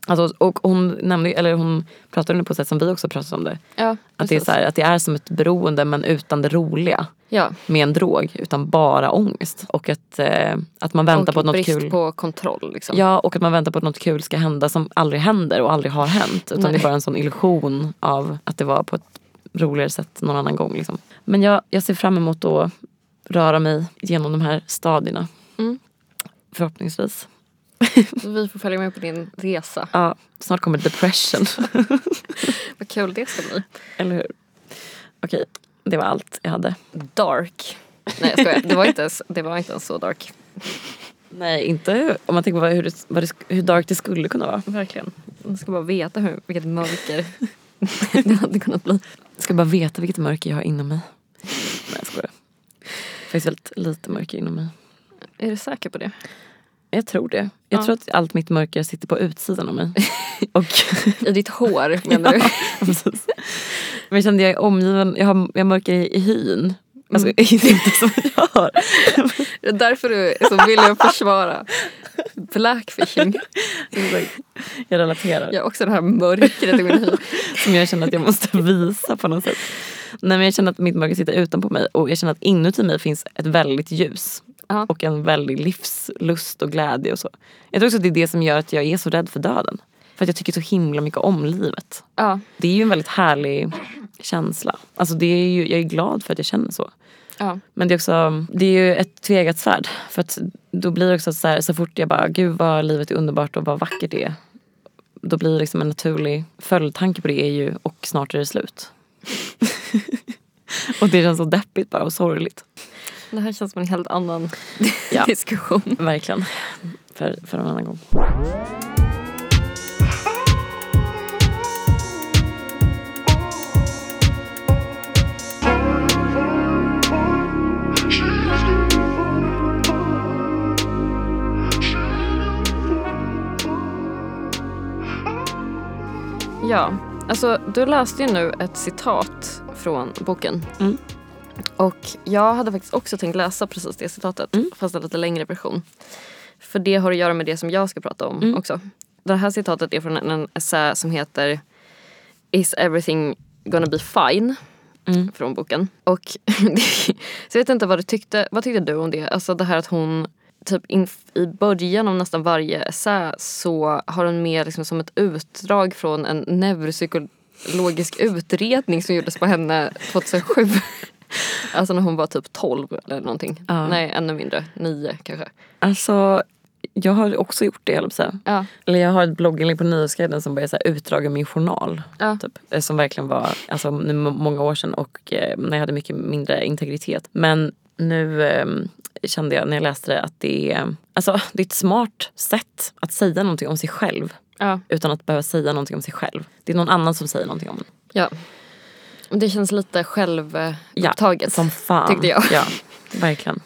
A: Alltså, och hon nämnde ju- eller hon pratade om det på ett sätt som vi också pratade om det.
B: Ja,
A: Att det, är
B: precis.
A: så här, att det är som ett beroende men utan det roliga.
B: Ja.
A: Med en drog utan bara ångest. Och att, eh, att man väntar
B: Och
A: på att något
B: brist
A: kul...
B: på kontroll. Liksom.
A: Ja, och att man väntar på att något kul ska hända som aldrig händer och aldrig har hänt. Utan
B: Nej.
A: det är bara en sån illusion av att det var på ett roligare sätt någon annan gång. Liksom. Men jag, jag ser fram emot att röra mig genom de här stadierna.
B: Mm.
A: Förhoppningsvis.
B: Så Vi får följa med på din resa.
A: Ja, snart kommer depression.
B: Vad kul det ska bli.
A: Eller hur? Okej, det var allt jag hade.
B: Dark. Nej jag skojar, det var inte ens, det var inte ens så dark.
A: Nej, inte om man tänker på vad- hur, det, vad det, hur dark det skulle kunna vara.
B: Verkligen. Man ska bara veta hur, vilket mörker det hade kunnat bli.
A: Jag ska bara veta vilket mörker jag har inom mig. Nej, jag skojar. Faktiskt väldigt lite mörker inom mig.
B: Är du säker på det?
A: Jag tror det. Jag
B: Ja.
A: tror att allt mitt mörker sitter på utsidan av mig. Och,
B: I ditt hår menar du?
A: precis. Men jag kände jag är omgiven, jag har, jag har mörker i, i hyn.
B: Mm.
A: Alltså det är inte som jag har.
B: Det är därför du är så vill jag försvara blackfishing.
A: Exakt. Jag relaterar.
B: Jag har också det här mörkret i min hy.
A: Som jag känner att jag måste visa på något sätt. Nej men jag känner att mitt mörker sitter utanpå mig och jag känner att inuti mig finns ett väldigt ljus.
B: Ja.
A: Och en väldig livslust och glädje och så. Jag tror också att det är det som gör att jag är så rädd för döden. För att jag tycker så himla mycket om livet.
B: Ja,
A: Det är ju en väldigt härlig känsla. Alltså det är ju, jag är glad för att jag känner så.
B: ja,
A: Men det är, också, det är ju ett tvegat svärd. För att då blir det också så, här, så fort jag bara, gud vad livet är underbart och vad vackert det är. Då blir det liksom en naturlig följdtanke på det är ju, och snart är det slut. och det känns så deppigt bara och sorgligt.
B: det här känns som en helt annan
A: Ja.
B: diskussion.
A: Verkligen. För, för en annan gång.
B: Ja, alltså du läste ju nu ett citat från boken.
A: Mm.
B: Och jag hade faktiskt också tänkt läsa precis det citatet, fast en lite längre version. För det har att göra med det som jag ska prata om också. Det här citatet är från en, en essä som heter Is everything gonna be fine?
A: Mm.
B: Från boken. Och så jag vet inte vad du tyckte, vad tyckte du om det? Alltså det här att hon typ inf- i början av nästan varje essä så har hon med liksom som ett utdrag från en neuropsykologisk utredning som gjordes på henne 2007. Alltså när hon var typ 12 eller någonting.
A: Ja.
B: Nej, ännu mindre. 9 kanske.
A: Alltså, jag har också gjort det, höll jag på att säga.
B: Ja.
A: Eller jag har ett blogginlägg på Nyhetsguiden som bara är så här utdrag ur min journal.
B: Ja.
A: Typ. Eh, Som verkligen var alltså, nu må- många år sedan och eh, när jag hade mycket mindre integritet. Men nu ehm, kände jag när jag läste det att det är, alltså, det är ett smart sätt att säga någonting om sig själv
B: Ja.
A: utan att behöva säga någonting om sig själv. Det är någon annan som säger någonting om en.
B: ja. Och Det känns lite självupptaget.
A: Som fan.
B: Tyckte jag.
A: Ja, verkligen.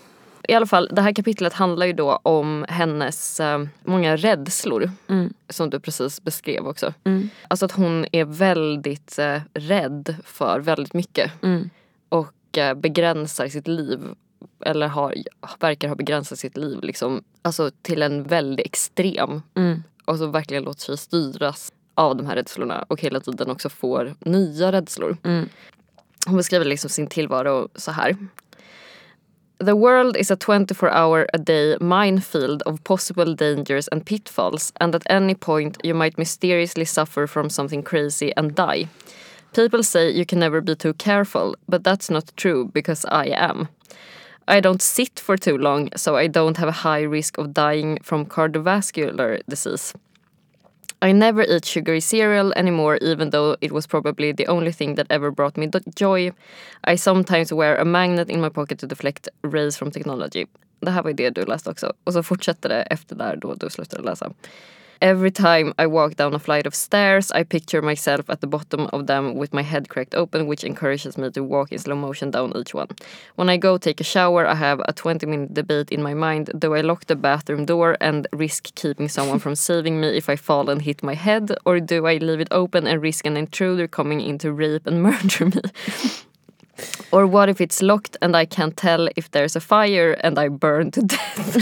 B: I alla fall, det här kapitlet handlar ju då om hennes eh, många rädslor.
A: Mm.
B: Som du precis beskrev också.
A: Mm.
B: Alltså att hon är väldigt eh, rädd för väldigt mycket.
A: Mm.
B: Och eh, begränsar sitt liv. Eller har, verkar ha begränsat sitt liv liksom. Alltså till en väldigt extrem.
A: Mm.
B: Och så verkligen låter sig styras av de här rädslorna. Och hela tiden också får nya rädslor.
A: Mm.
B: Hon beskriver liksom sin tillvaro så här. The world is a 24 hour a day minefield of possible dangers and pitfalls and at any point you might mysteriously suffer from something crazy and die. People say you can never be too careful but that's not true because I am. I don't sit for too long so I don't have a high risk of dying from cardiovascular disease. I never eat sugary cereal anymore, even though it was probably the only thing that ever brought me do- joy. I sometimes wear a magnet in my pocket to deflect rays from technology. Det här var ju det du läste också. Och så fortsätter det efter där då du slutade läsa. Every time I walk down a flight of stairs I picture myself at the bottom of them with my head cracked open which encourages me to walk in slow motion down each one. When I go take a shower I have a 20 minute debate in my mind do I lock the bathroom door and risk keeping someone from saving me if I fall and hit my head or do I leave it open and risk an intruder coming in to rape and murder me? Or what if it's locked and I can't tell if there's a fire and I burn to death?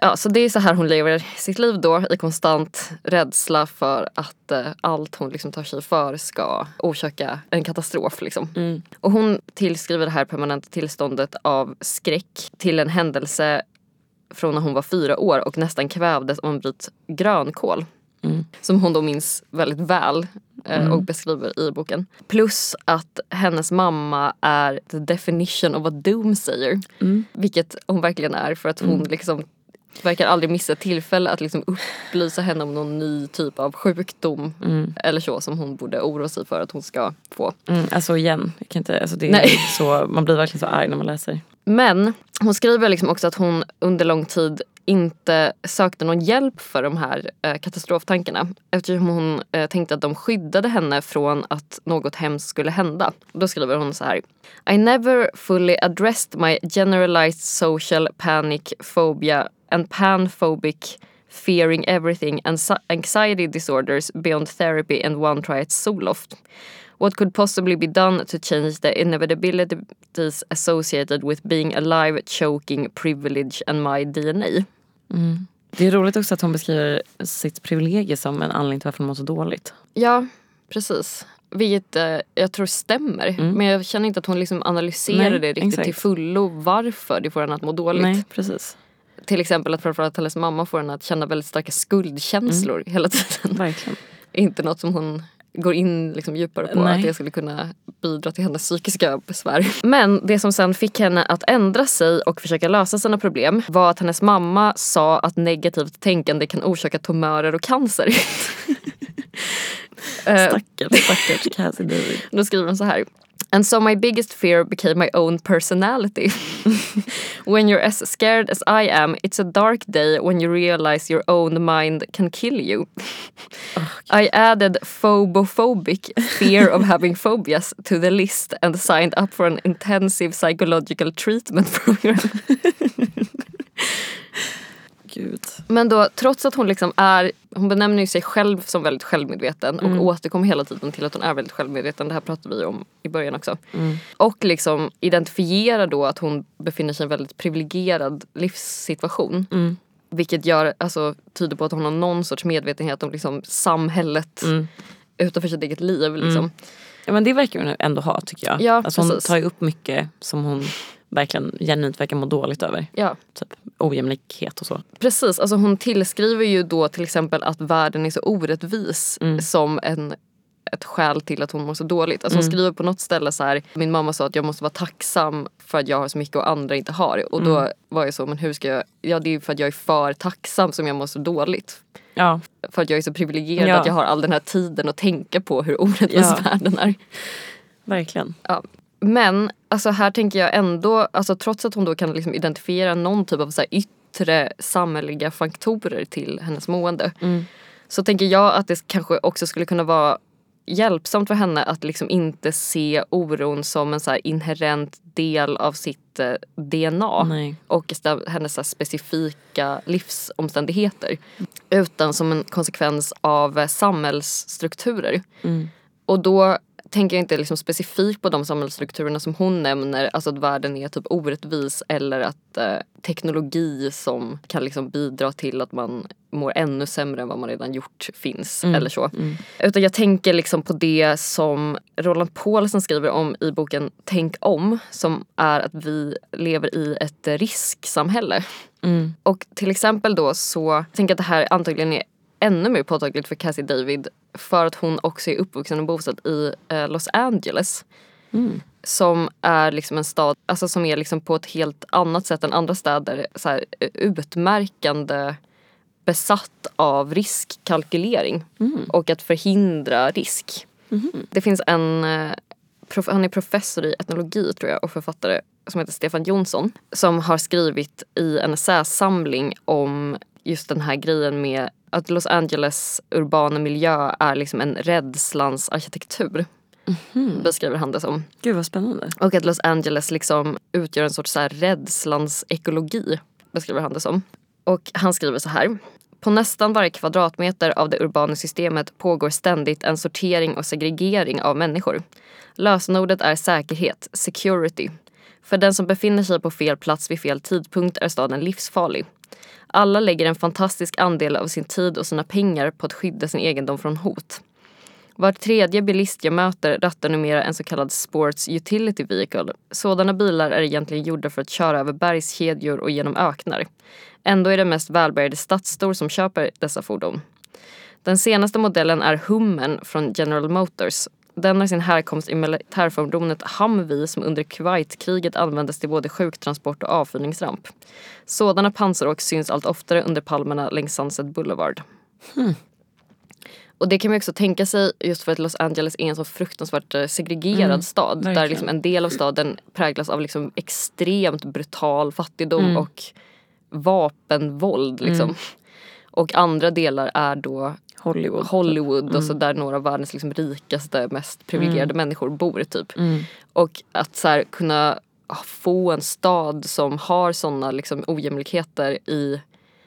B: Ja, så det är så här hon lever sitt liv då i konstant rädsla för att eh, allt hon liksom tar sig för ska orsaka en katastrof. Liksom. Och hon tillskriver det här permanenta tillståndet av skräck till en händelse från när hon var fyra år och nästan kvävdes av en bit grönkål.
A: Mm.
B: Som hon då minns väldigt väl eh, och beskriver i boken. Plus att hennes mamma är the definition of a doomsayer.
A: Mm.
B: Vilket hon verkligen är för att hon liksom verkar aldrig missa ett tillfälle att liksom upplysa henne om någon ny typ av sjukdom
A: Mm.
B: eller så som hon borde oroa sig för att hon ska få.
A: Mm. Alltså igen, jag kan inte, alltså det är
B: Nej.
A: så, man blir verkligen så arg när man läser.
B: Men hon skriver liksom också att hon under lång tid inte sökte någon hjälp för de här eh, katastroftankarna eftersom hon eh, tänkte att de skyddade henne från att något hemskt skulle hända. Då skriver hon så här. I never fully addressed my generalized social panic phobia and panphobic fearing everything and so- anxiety disorders beyond therapy and one try at Zoloft. What could possibly be done to change the inevitabilities associated with being alive, choking, privilege and my DNA?
A: Det är roligt också att hon beskriver sitt privilegie som en anledning till varför hon mår så dåligt.
B: Ja, precis. Vilket eh, jag tror stämmer. Men jag känner inte att hon liksom
A: Nej,
B: analyserar det riktigt
A: exakt.
B: till fullo varför det får henne att må dåligt.
A: Nej, precis.
B: Till exempel att framförallt hennes mamma får henne att känna väldigt starka skuldkänslor hela tiden.
A: Verkligen.
B: inte något som hon går in liksom djupare på
A: Nej.
B: att det skulle kunna bidra till hennes psykiska besvär. Men det som sen fick henne att ändra sig och försöka lösa sina problem var att hennes mamma sa att negativt tänkande kan orsaka tumörer och cancer. Eh,
A: Stackars, stackars Cassie David.
B: Då skriver hon så här. And so my biggest fear became my own personality. when you're as scared as I am, it's a dark day when you realize your own mind can kill you. I added phobophobic, fear of having phobias, to the list and signed up for an intensive psychological treatment program.
A: Gud.
B: Men då trots att hon liksom är, hon benämner ju sig själv som väldigt självmedveten och återkommer hela tiden till att hon är väldigt självmedveten. Det här pratade vi om i början också. Och liksom identifierar då att hon befinner sig i en väldigt privilegierad livssituation. Vilket gör, alltså, tyder på att hon har någon sorts medvetenhet om liksom, samhället
A: Mm.
B: utanför sitt eget liv. Liksom.
A: Ja, men det verkar hon ändå ha tycker jag.
B: Ja,
A: alltså, hon
B: precis.
A: tar ju upp mycket som hon verkligen genuint verkar må dåligt över.
B: Ja.
A: Typ ojämlikhet och så.
B: Precis, alltså hon tillskriver ju då till exempel att världen är så orättvis
A: Mm.
B: som en, ett skäl till att hon mår så dåligt. Alltså
A: Mm.
B: Hon skriver på något ställe så här, min mamma sa att jag måste vara tacksam för att jag har så mycket och andra inte har. Och då
A: Mm.
B: var jag så, men hur ska jag, ja det är för att jag är för tacksam som jag mår så dåligt.
A: Ja.
B: För att jag är så privilegierad
A: Ja.
B: att jag har all den här tiden att tänka på hur orättvis
A: Ja.
B: världen är.
A: Verkligen.
B: Ja. Men alltså här tänker jag ändå, alltså trots att hon då kan liksom identifiera någon typ av så här yttre samhälleliga faktorer till hennes mående. Så tänker jag att det kanske också skulle kunna vara hjälpsamt för henne att liksom inte se oron som en så här inherent del av sitt eh, DNA
A: Nej.
B: och sta- hennes så här specifika livsomständigheter. Utan som en konsekvens av eh, samhällsstrukturer. Och då tänker jag inte liksom specifikt på de samhällsstrukturerna som hon nämner, alltså att världen är typ orättvis eller att eh, teknologi som kan liksom bidra till att man mår ännu sämre än vad man redan gjort finns eller så. Utan jag tänker liksom på det som Roland Paulsen skriver om i boken Tänk om som är att vi lever i ett eh, risksamhälle.
A: Mm.
B: Och till exempel då så tänker jag att det här antagligen är ännu mer påtagligt för Cassie David för att hon också är uppvuxen och bosatt i eh, Los Angeles. Som är liksom en stad, alltså som är liksom på ett helt annat sätt än andra städer så här, eh, utmärkande besatt av riskkalkylering och att förhindra risk. Det finns en, eh, prof, han är professor i etnologi tror jag och författare som heter Stefan Jonsson som har skrivit i en essäsamling om just den här grejen med att Los Angeles urbana miljö är liksom en rädslans arkitektur. Beskriver han det som.
A: Gud vad spännande.
B: Och att Los Angeles liksom utgör en sorts så här rädslans ekologi, beskriver han det som. Och han skriver så här. På nästan varje kvadratmeter av det urbana systemet pågår ständigt en sortering och segregering av människor. Lösenordet är säkerhet, security. För den som befinner sig på fel plats vid fel tidpunkt är staden livsfarlig. Alla lägger en fantastisk andel av sin tid och sina pengar på att skydda sin egendom från hot. Var tredje bilist jag möter rattar numera en så kallad Sports Utility Vehicle. Sådana bilar är egentligen gjorda för att köra över bergskedjor och genom öknar. Ändå är det mest välbärgade stadsbor som köper dessa fordon. Den senaste modellen är Hummen från General Motors. Den har sin härkomst i militärfordonet Humvee som under Kuwaitkriget användes till både sjuktransport och avfyrningsramp. Sådana pansaråk syns allt oftare under palmerna längs Sunset Boulevard. Och det kan man ju också tänka sig just för att Los Angeles är en så fruktansvärt eh, segregerad stad. Där
A: verkligen.
B: liksom en del av staden präglas av liksom extremt brutal fattigdom och vapenvåld. Liksom. Och andra delar är då
A: Hollywood. typ. Mm.
B: Hollywood och så där några av världens liksom rikaste, mest privilegierade människor bor typ.
A: mm,
B: Och att så här, kunna ah, få en stad som har såna liksom, ojämlikheter i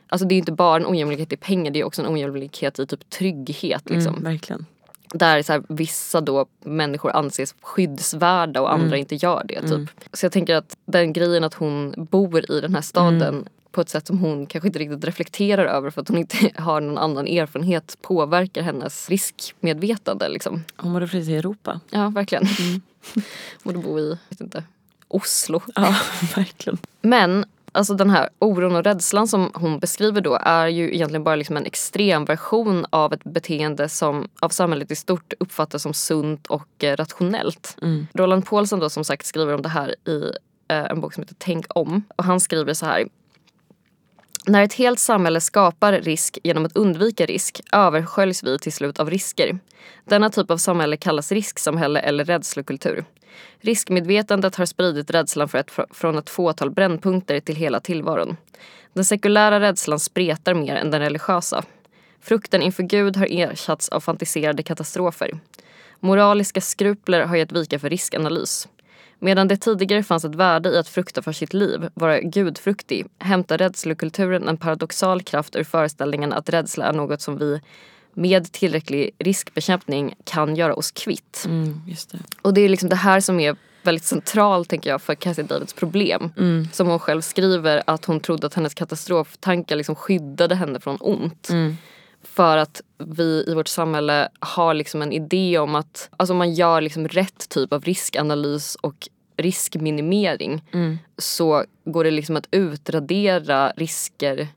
B: Alltså det är ju inte bara en ojämlikhet i pengar, det är också en ojämlikhet i typ trygghet. Liksom.
A: Mm, verkligen.
B: Där så här, vissa då människor anses skyddsvärda och andra inte gör det. Typ. Så jag tänker att den grejen att hon bor i den här staden på ett sätt som hon kanske inte riktigt reflekterar över för att hon inte har någon annan erfarenhet påverkar hennes riskmedvetande. Liksom.
A: Hon borde flytta till Europa.
B: Ja, verkligen. Borde bo i, vet inte, Oslo.
A: Ja, verkligen.
B: Men alltså den här oron och rädslan som hon beskriver då är ju egentligen bara liksom en extrem version av ett beteende som av samhället i stort uppfattas som sunt och eh, rationellt. Roland Paulsen då som sagt skriver om det här i eh, en bok som heter Tänk om. Och han skriver så här. När ett helt samhälle skapar risk genom att undvika risk översköljs vi till slut av risker. Denna typ av samhälle kallas risksamhälle eller rädslokultur. Riskmedvetandet har spridit rädslan för ett, från ett fåtal brännpunkter till hela tillvaron. Den sekulära rädslan spretar mer än den religiösa. Frukten inför Gud har ersatts av fantiserade katastrofer. Moraliska skrupler har gett vika för riskanalys. Medan det tidigare fanns ett värde i att frukta för sitt liv, vara gudfruktig, hämtar rädslokulturen en paradoxal kraft ur föreställningen att rädsla är något som vi med tillräcklig riskbekämpning kan göra oss kvitt.
A: Mm, just det.
B: Och det är liksom det här som är väldigt central tänker jag för Cassie Davids problem. Som hon själv skriver att hon trodde att hennes katastroftankar liksom skyddade henne från ont. För att vi i vårt samhälle har liksom en idé om att alltså om man gör liksom rätt typ av riskanalys och riskminimering
A: Mm.
B: så går det liksom att utradera risker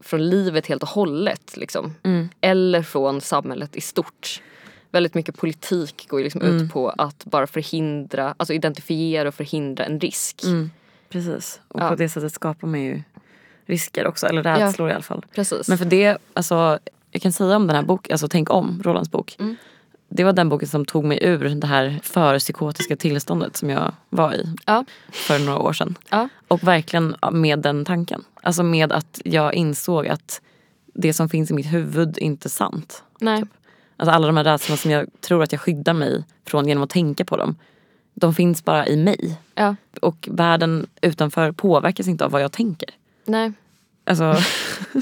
B: från livet helt och hållet. Liksom. Eller från samhället i stort. Väldigt mycket politik går ju liksom ut på att bara förhindra, alltså identifiera och förhindra en risk.
A: Precis. Och på det sättet skapar man ju risker också. Eller rädslor i alla fall.
B: Precis.
A: Men för det, alltså, jag kan säga om den här boken, alltså Tänk om, Rolands bok. Det var den boken som tog mig ur det här förpsykotiska tillståndet som jag var i
B: ja.
A: för några år sedan.
B: Ja.
A: Och verkligen med den tanken. Alltså med att jag insåg att det som finns i mitt huvud inte är sant.
B: Nej.
A: Alltså alla de här rädslorna som jag tror att jag skyddar mig från genom att tänka på dem. De finns bara i mig.
B: Ja.
A: Och världen utanför påverkas inte av vad jag tänker.
B: Nej.
A: Alltså,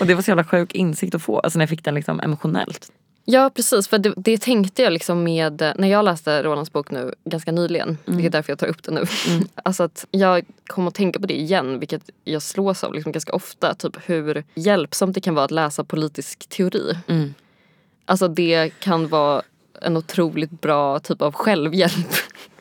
A: och det var så jävla sjuk insikt att få. Alltså när jag fick den liksom emotionellt.
B: Ja precis, för det, det tänkte jag liksom med, när jag läste Rolands bok nu ganska nyligen,
A: Mm.
B: det är därför jag tar upp den nu. Alltså att jag kom att tänka på det igen, vilket jag slås av liksom ganska ofta, typ hur hjälpsamt det kan vara att läsa politisk teori.
A: Mm.
B: Alltså det kan vara en otroligt bra typ av självhjälp.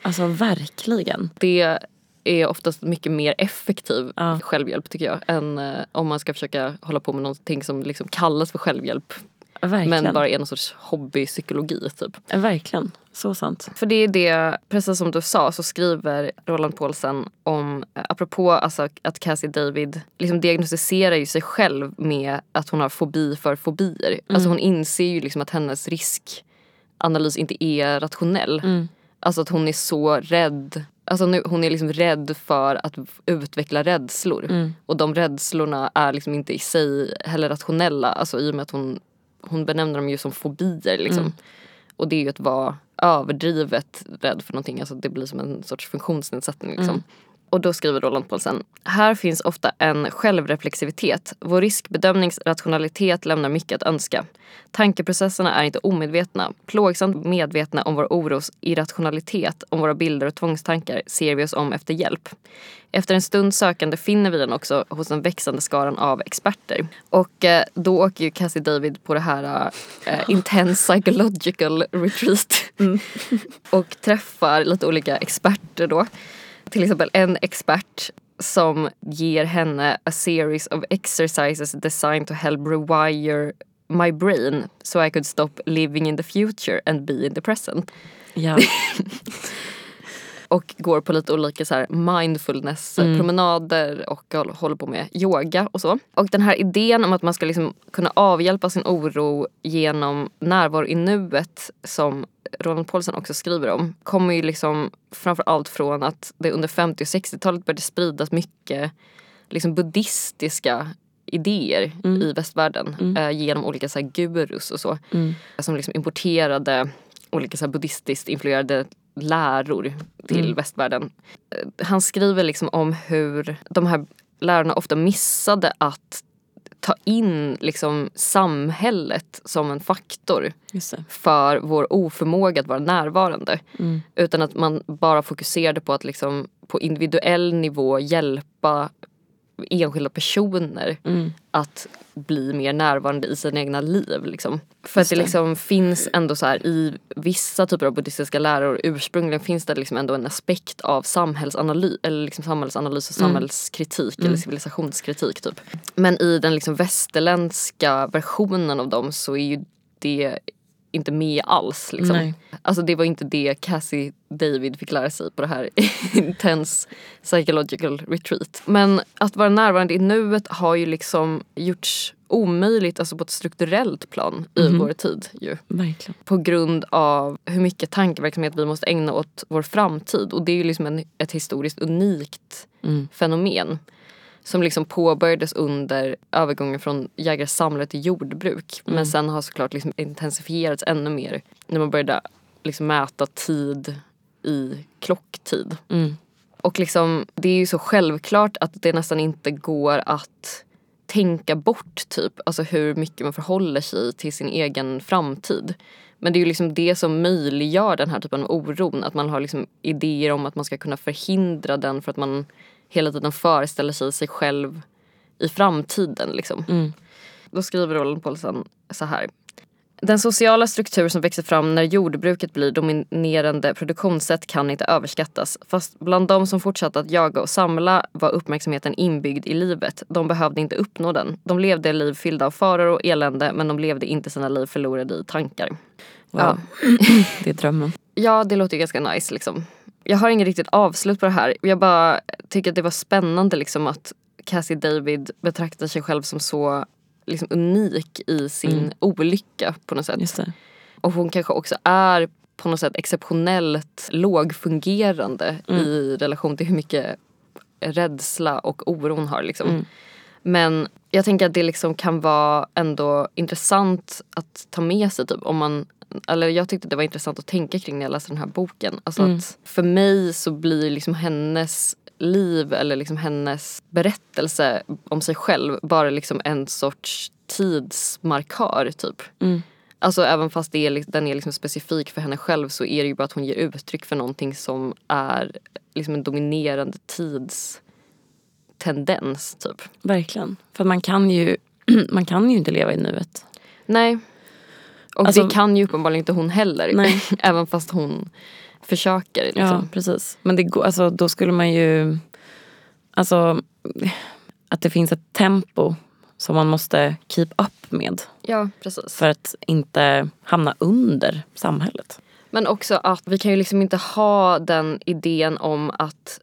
A: Alltså verkligen.
B: Det är oftast mycket mer effektiv
A: Ja.
B: självhjälp tycker jag än eh, om man ska försöka hålla på med någonting som liksom kallas för självhjälp
A: Verkligen.
B: men bara är någon sorts hobbypsykologi typ.
A: Verkligen. Så sant.
B: För det är det, precis som du sa, så skriver Roland Paulsen om, eh, apropå alltså att Cassie David liksom diagnostiserar ju sig själv med att hon har fobi för fobier. Alltså hon inser ju liksom att hennes riskanalys inte är rationell.
A: Mm.
B: Alltså att hon är så rädd. Alltså nu, hon är liksom rädd för att utveckla rädslor.
A: mm.
B: Och de rädslorna är liksom inte i sig heller rationella. Alltså i och med att hon, hon benämner dem ju som fobier liksom. Och det är ju att vara överdrivet rädd för någonting. Alltså det blir som en sorts funktionsnedsättning. Liksom. Och då skriver Roland Paulsen. Här finns ofta en självreflexivitet. Vår riskbedömningsrationalitet lämnar mycket att önska. Tankeprocesserna är inte omedvetna. Plågsamt medvetna om vår oros irrationalitet, om våra bilder och tvångstankar ser vi oss om efter hjälp. Efter en stund sökande finner vi den också hos den växande skaran av experter. Och eh, då åker ju Cassie David på det här eh, intense psychological retreat. och träffar lite olika experter då. Till exempel en expert som ger henne a series of exercises designed to help rewire my brain so I could stop living in the future and be in the present
A: Ja.
B: och går på lite olika så här mindfulness-promenader och håll- håller på med yoga och så. Och den här idén om att man ska liksom kunna avhjälpa sin oro genom närvaro i nuet som Roland Paulsen också skriver om kommer ju liksom framförallt från att det under 50 och 60-talet började spridas mycket liksom buddhistiska idéer i västvärlden eh, genom olika så här gurus och så. Som liksom importerade olika så här buddhistiskt influerade läror till västvärlden. Eh, Han skriver liksom om hur de här lärarna ofta missade att ta in liksom samhället som en faktor
A: Just det.
B: för vår oförmåga att vara närvarande.
A: Mm.
B: Utan att man bara fokuserade på att liksom på individuell nivå hjälpa enskilda personer
A: Mm.
B: att bli mer närvarande i sina egna liv. Liksom. För att det, liksom finns ändå så här i vissa typer av buddhistiska läror ursprungligen finns det liksom ändå en aspekt av samhällsanalys, eller liksom samhällsanalys och samhällskritik eller civilisationskritik typ. Men i den liksom västerländska versionen av dem så är ju det inte med alls. Liksom.
A: Nej.
B: Alltså det var inte det Cassie David fick lära sig på det här intense psychological retreat. Men att vara närvarande i nuet har ju liksom gjorts omöjligt alltså på ett strukturellt plan i vår tid ju.
A: Verkligen.
B: På grund av hur mycket tankeverksamhet vi måste ägna åt vår framtid. Och det är ju liksom en, ett historiskt unikt
A: Mm,
B: fenomen. Som liksom påbörjades under övergången från jägarsamlare till jordbruk. Men sen har såklart liksom intensifierats ännu mer när man började liksom mäta tid i klocktid.
A: mm.
B: Och liksom, det är ju så självklart att det nästan inte går att tänka bort typ, alltså hur mycket man förhåller sig till sin egen framtid. Men det är ju liksom det som möjliggör den här typen av oron, att man har liksom idéer om att man ska kunna förhindra den för att man hela tiden föreställer sig sig själv i framtiden. Liksom.
A: Mm.
B: Då skriver Roland Paulsen så här. Den sociala struktur som växer fram när jordbruket blir dominerande produktionssätt kan inte överskattas. Fast bland de som fortsatte att jaga och samla var uppmärksamheten inbyggd i livet. De behövde inte uppnå den. De levde liv fyllda av faror och elände men de levde inte sina liv förlorade i tankar.
A: Wow.
B: Ja.
A: Det är drömmen.
B: Ja, det låter ju ganska nice liksom. Jag har inget riktigt avslut på det här. Jag bara tycker att det var spännande liksom att Cassie David betraktar sig själv som så liksom, unik i sin olycka på något sätt.
A: Mm. Just det.
B: Och hon kanske också är på något sätt exceptionellt lågfungerande i relation till hur mycket rädsla och oro hon har. Liksom. Men jag tänker att det liksom kan vara ändå intressant att ta med sig. Typ, om man, eller jag tyckte det var intressant att tänka kring när jag läste den här boken. Alltså att för mig så blir liksom hennes liv eller liksom hennes berättelse om sig själv bara liksom en sorts tidsmarkör. typ.
A: Mm.
B: Alltså även fast det är, li- den är liksom specifik för henne själv så är det ju bara att hon ger uttryck för någonting som är liksom en dominerande tidstendens typ.
A: Verkligen. För man kan ju, man kan ju inte leva i nuet.
B: Nej. Och
A: Alltså-
B: det kan ju uppenbarligen inte hon heller.
A: Nej.
B: även fast hon försöker. Liksom.
A: precis. Men det, går- alltså, då skulle man ju... Alltså, att det finns ett tempo som man måste keep up med
B: Ja, precis.
A: för att inte hamna under samhället.
B: Men också att vi kan ju liksom inte ha den idén om att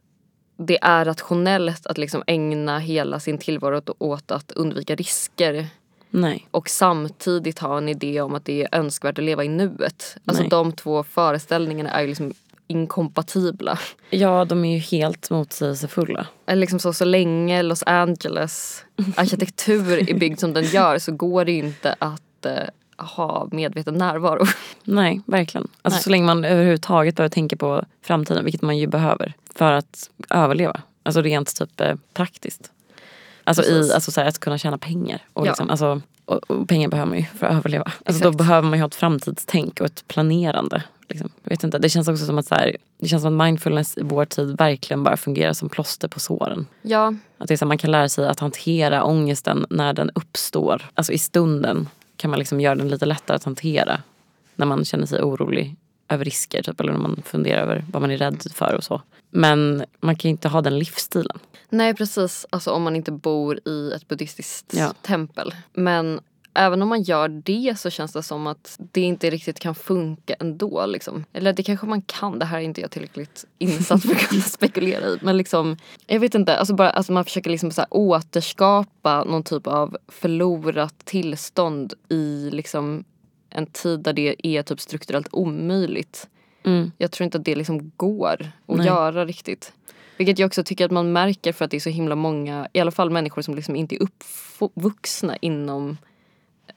B: det är rationellt att liksom ägna hela sin tillvaro åt- åt att undvika risker
A: Nej.
B: och samtidigt ha en idé om att det är önskvärt att leva i nuet. Alltså
A: Nej.
B: de två föreställningarna är ju liksom inkompatibla.
A: Ja, de är ju helt motsägelsefulla.
B: Eller liksom så, så länge Los Angeles arkitektur är byggd som den gör så går det ju inte att eh, ha medveten närvaro.
A: Nej, verkligen. Alltså
B: Nej.
A: så länge man överhuvudtaget behöver tänka på framtiden, vilket man ju behöver för att överleva. Alltså rent typ eh, praktiskt. Alltså,
B: Precis.
A: i, alltså så här, att kunna tjäna pengar. Och,
B: Ja.
A: liksom, alltså, och, och pengar behöver man ju för att överleva. Alltså, då
B: Exakt.
A: behöver man ju ha ett framtidstänk och ett planerande. Liksom. Jag vet inte, det känns också som att, så här, det känns som att mindfulness i vår tid verkligen bara fungerar som plåster på såren.
B: Ja,
A: Att det är så här, man kan lära sig att hantera ångesten när den uppstår. Alltså i stunden kan man liksom göra den lite lättare att hantera. När man känner sig orolig över risker typ, eller när man funderar över vad man är rädd för och så. Men man kan ju inte ha den livsstilen.
B: nej precis. Alltså om man inte bor i ett buddhistiskt
A: Ja.
B: tempel. Men även om man gör det så känns det som att det inte riktigt kan funka ändå. Liksom. Eller det kanske man kan, det här är inte jag tillräckligt insatt för att kunna spekulera i. Men liksom, jag vet inte, alltså bara att alltså man försöker liksom så här återskapa någon typ av förlorat tillstånd i liksom en tid där det är typ strukturellt omöjligt.
A: Mm.
B: Jag tror inte att det liksom går att
A: Nej.
B: göra riktigt. Vilket jag också tycker att man märker för att det är så himla många, i alla fall människor som liksom inte är uppvuxna inom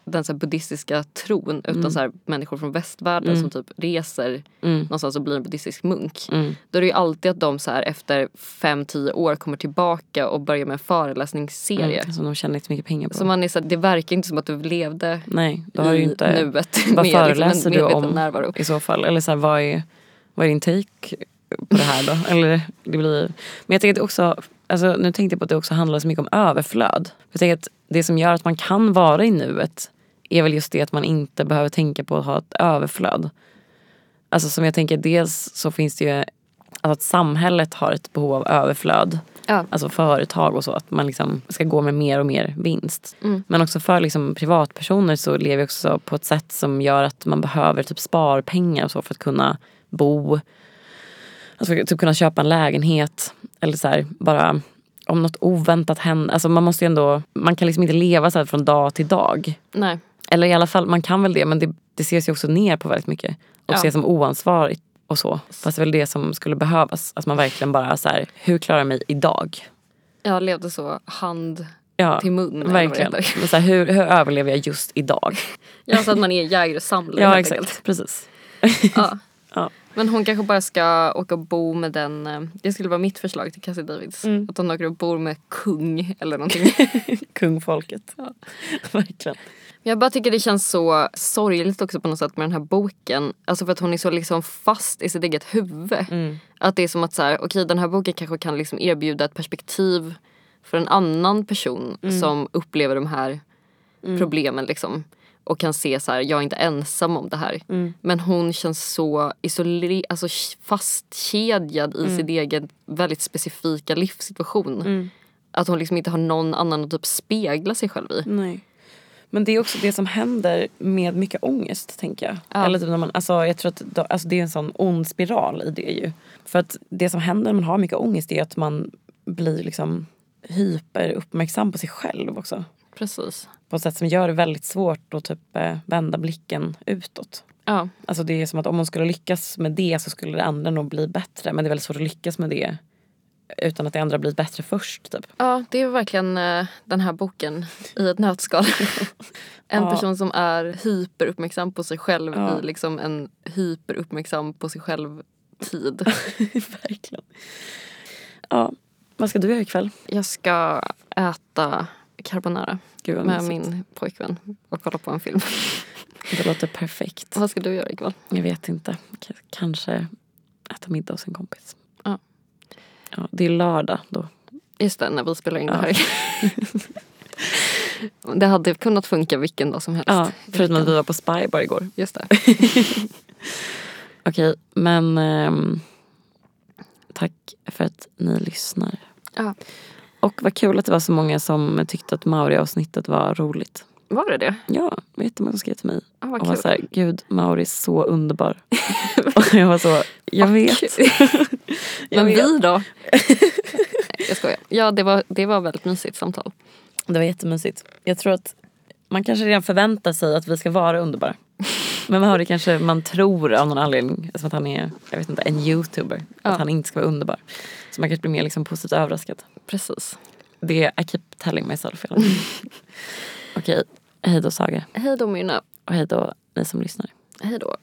B: den så här buddhistiska tron utan så här människor från västvärlden som typ reser
A: Mm.
B: någonstans och blir en buddhistisk munk.
A: Mm.
B: Då är det ju alltid att de så här efter 5-10 år kommer tillbaka och börjar med en föreläsningsserie.
A: Mm. Som de tjänar inte så mycket pengar på.
B: Så man är så här, det verkar inte som att du levde
A: Nej, då har du
B: i
A: ju inte...
B: nuet
A: Vad
B: liksom en
A: föreläser du
B: medveten
A: om
B: närvaro.
A: i så fall? Eller så här, vad, är, vad är din take på det här då? Eller, det blir, men jag tänker att det också, alltså, nu tänkte jag på att det också handlar så mycket om överflöd. Jag tänker att det som gör att man kan vara i nuet är väl just det att man inte behöver tänka på att ha ett överflöd. Alltså som jag tänker, dels så finns det ju alltså att samhället har ett behov av överflöd
B: Ja.
A: alltså företag och så, att man liksom ska gå med mer och mer vinst. Men också för liksom privatpersoner så lever vi också på ett sätt som gör att man behöver typ sparpengar och så för att kunna bo. Alltså för att typ kunna köpa en lägenhet eller så här, bara om något oväntat händer. Alltså man måste ju ändå, man kan liksom inte leva så här från dag till dag.
B: Nej.
A: Eller i alla fall, man kan väl det men det, det ses ju också ner på väldigt mycket. Och
B: Ja.
A: ses som oansvarigt och så. Fast det är väl det som skulle behövas. Att man verkligen bara så här, hur klarar jag mig idag?
B: Jag levde så hand
A: ja,
B: till mun. eller vad det
A: Verkligen.
B: heter.
A: Men så här, hur, hur överlever jag just idag?
B: Ja, så att man är jägare och samlare
A: ja
B: helt
A: exakt,
B: enkelt.
A: precis.
B: Ja.
A: Ja.
B: Men hon kanske bara ska åka och bo med den, eh, det skulle vara mitt förslag till Cassie Davids.
A: Mm.
B: Att hon åker och bor med kung eller någonting.
A: Kungfolket.
B: Ja.
A: Verkligen.
B: Jag bara tycker det känns så sorgligt också på något sätt med den här boken. Alltså för att hon är så liksom fast i sitt eget huvud. Att det är som att så här, okej den här boken kanske kan liksom erbjuda ett perspektiv för en annan person som upplever de här problemen liksom. Och kan se så här, jag är inte ensam om det här. Men hon känns så isolerad, alltså fastkedjad i sin egen väldigt specifika livssituation. Att hon liksom inte har någon annan att typ spegla sig själv i.
A: Nej. Men det är också det som händer med mycket ångest tänker jag.
B: Ja.
A: Eller typ när man, alltså, jag tror att då, alltså, det är en sån ond spiral i det ju. För att det som händer när man har mycket ångest är att man blir liksom hyperuppmärksam på sig själv också.
B: Precis.
A: På ett sätt som gör det väldigt svårt att typ eh, vända blicken utåt.
B: Ja.
A: Alltså det är som att om hon skulle lyckas med det så skulle det andra nog bli bättre. Men det är väldigt svårt att lyckas med det utan att det andra blir bättre först typ.
B: Ja, det är verkligen eh, den här boken i ett nötskal. en
A: Ja.
B: person som är hyperuppmärksam på sig själv
A: Ja.
B: i liksom en hyperuppmärksam på sig själv-tid.
A: Verkligen. Ja, vad ska du göra ikväll?
B: Jag ska äta carbonara
A: Gud vad
B: med
A: mysigt.
B: min pojkvän och kolla på en film.
A: Det låter perfekt.
B: Vad ska du göra ikväll?
A: Jag vet inte. K- Kanske äta middag hos en kompis.
B: Ja.
A: Ja, det är lördag då.
B: Just det, när vi spelar in det
A: Ja.
B: här. det hade kunnat funka vilken dag som helst.
A: förutom att vi var på Spy bara igår.
B: Just det.
A: Okej, men ehm, tack för att ni lyssnar.
B: Ja.
A: Och vad kul att det var så många som tyckte att Mauri-avsnittet var roligt.
B: Var det det?
A: Ja, det var jättemånga som skrev till mig.
B: Ah,
A: och
B: vad
A: var
B: kul.
A: så här, gud Mauri är så underbar. och jag var så, jag vet.
B: Men
A: vet.
B: vi då? jag skojar. Ja, det var, det var väldigt mysigt samtal.
A: Det var jättemysigt. Jag tror att man kanske redan förväntar sig att vi ska vara underbara. Men man har det kanske man tror av någon anledning, som att han är jag vet inte, en youtuber,
B: Ja.
A: att han inte ska vara underbar. Så man kanske blir mer liksom positivt överraskad.
B: Precis.
A: Det I keep telling myself. hela tiden. Okej, hej då Saga
B: Hej då Myrna.
A: och hej då ni som lyssnar.
B: Hej då.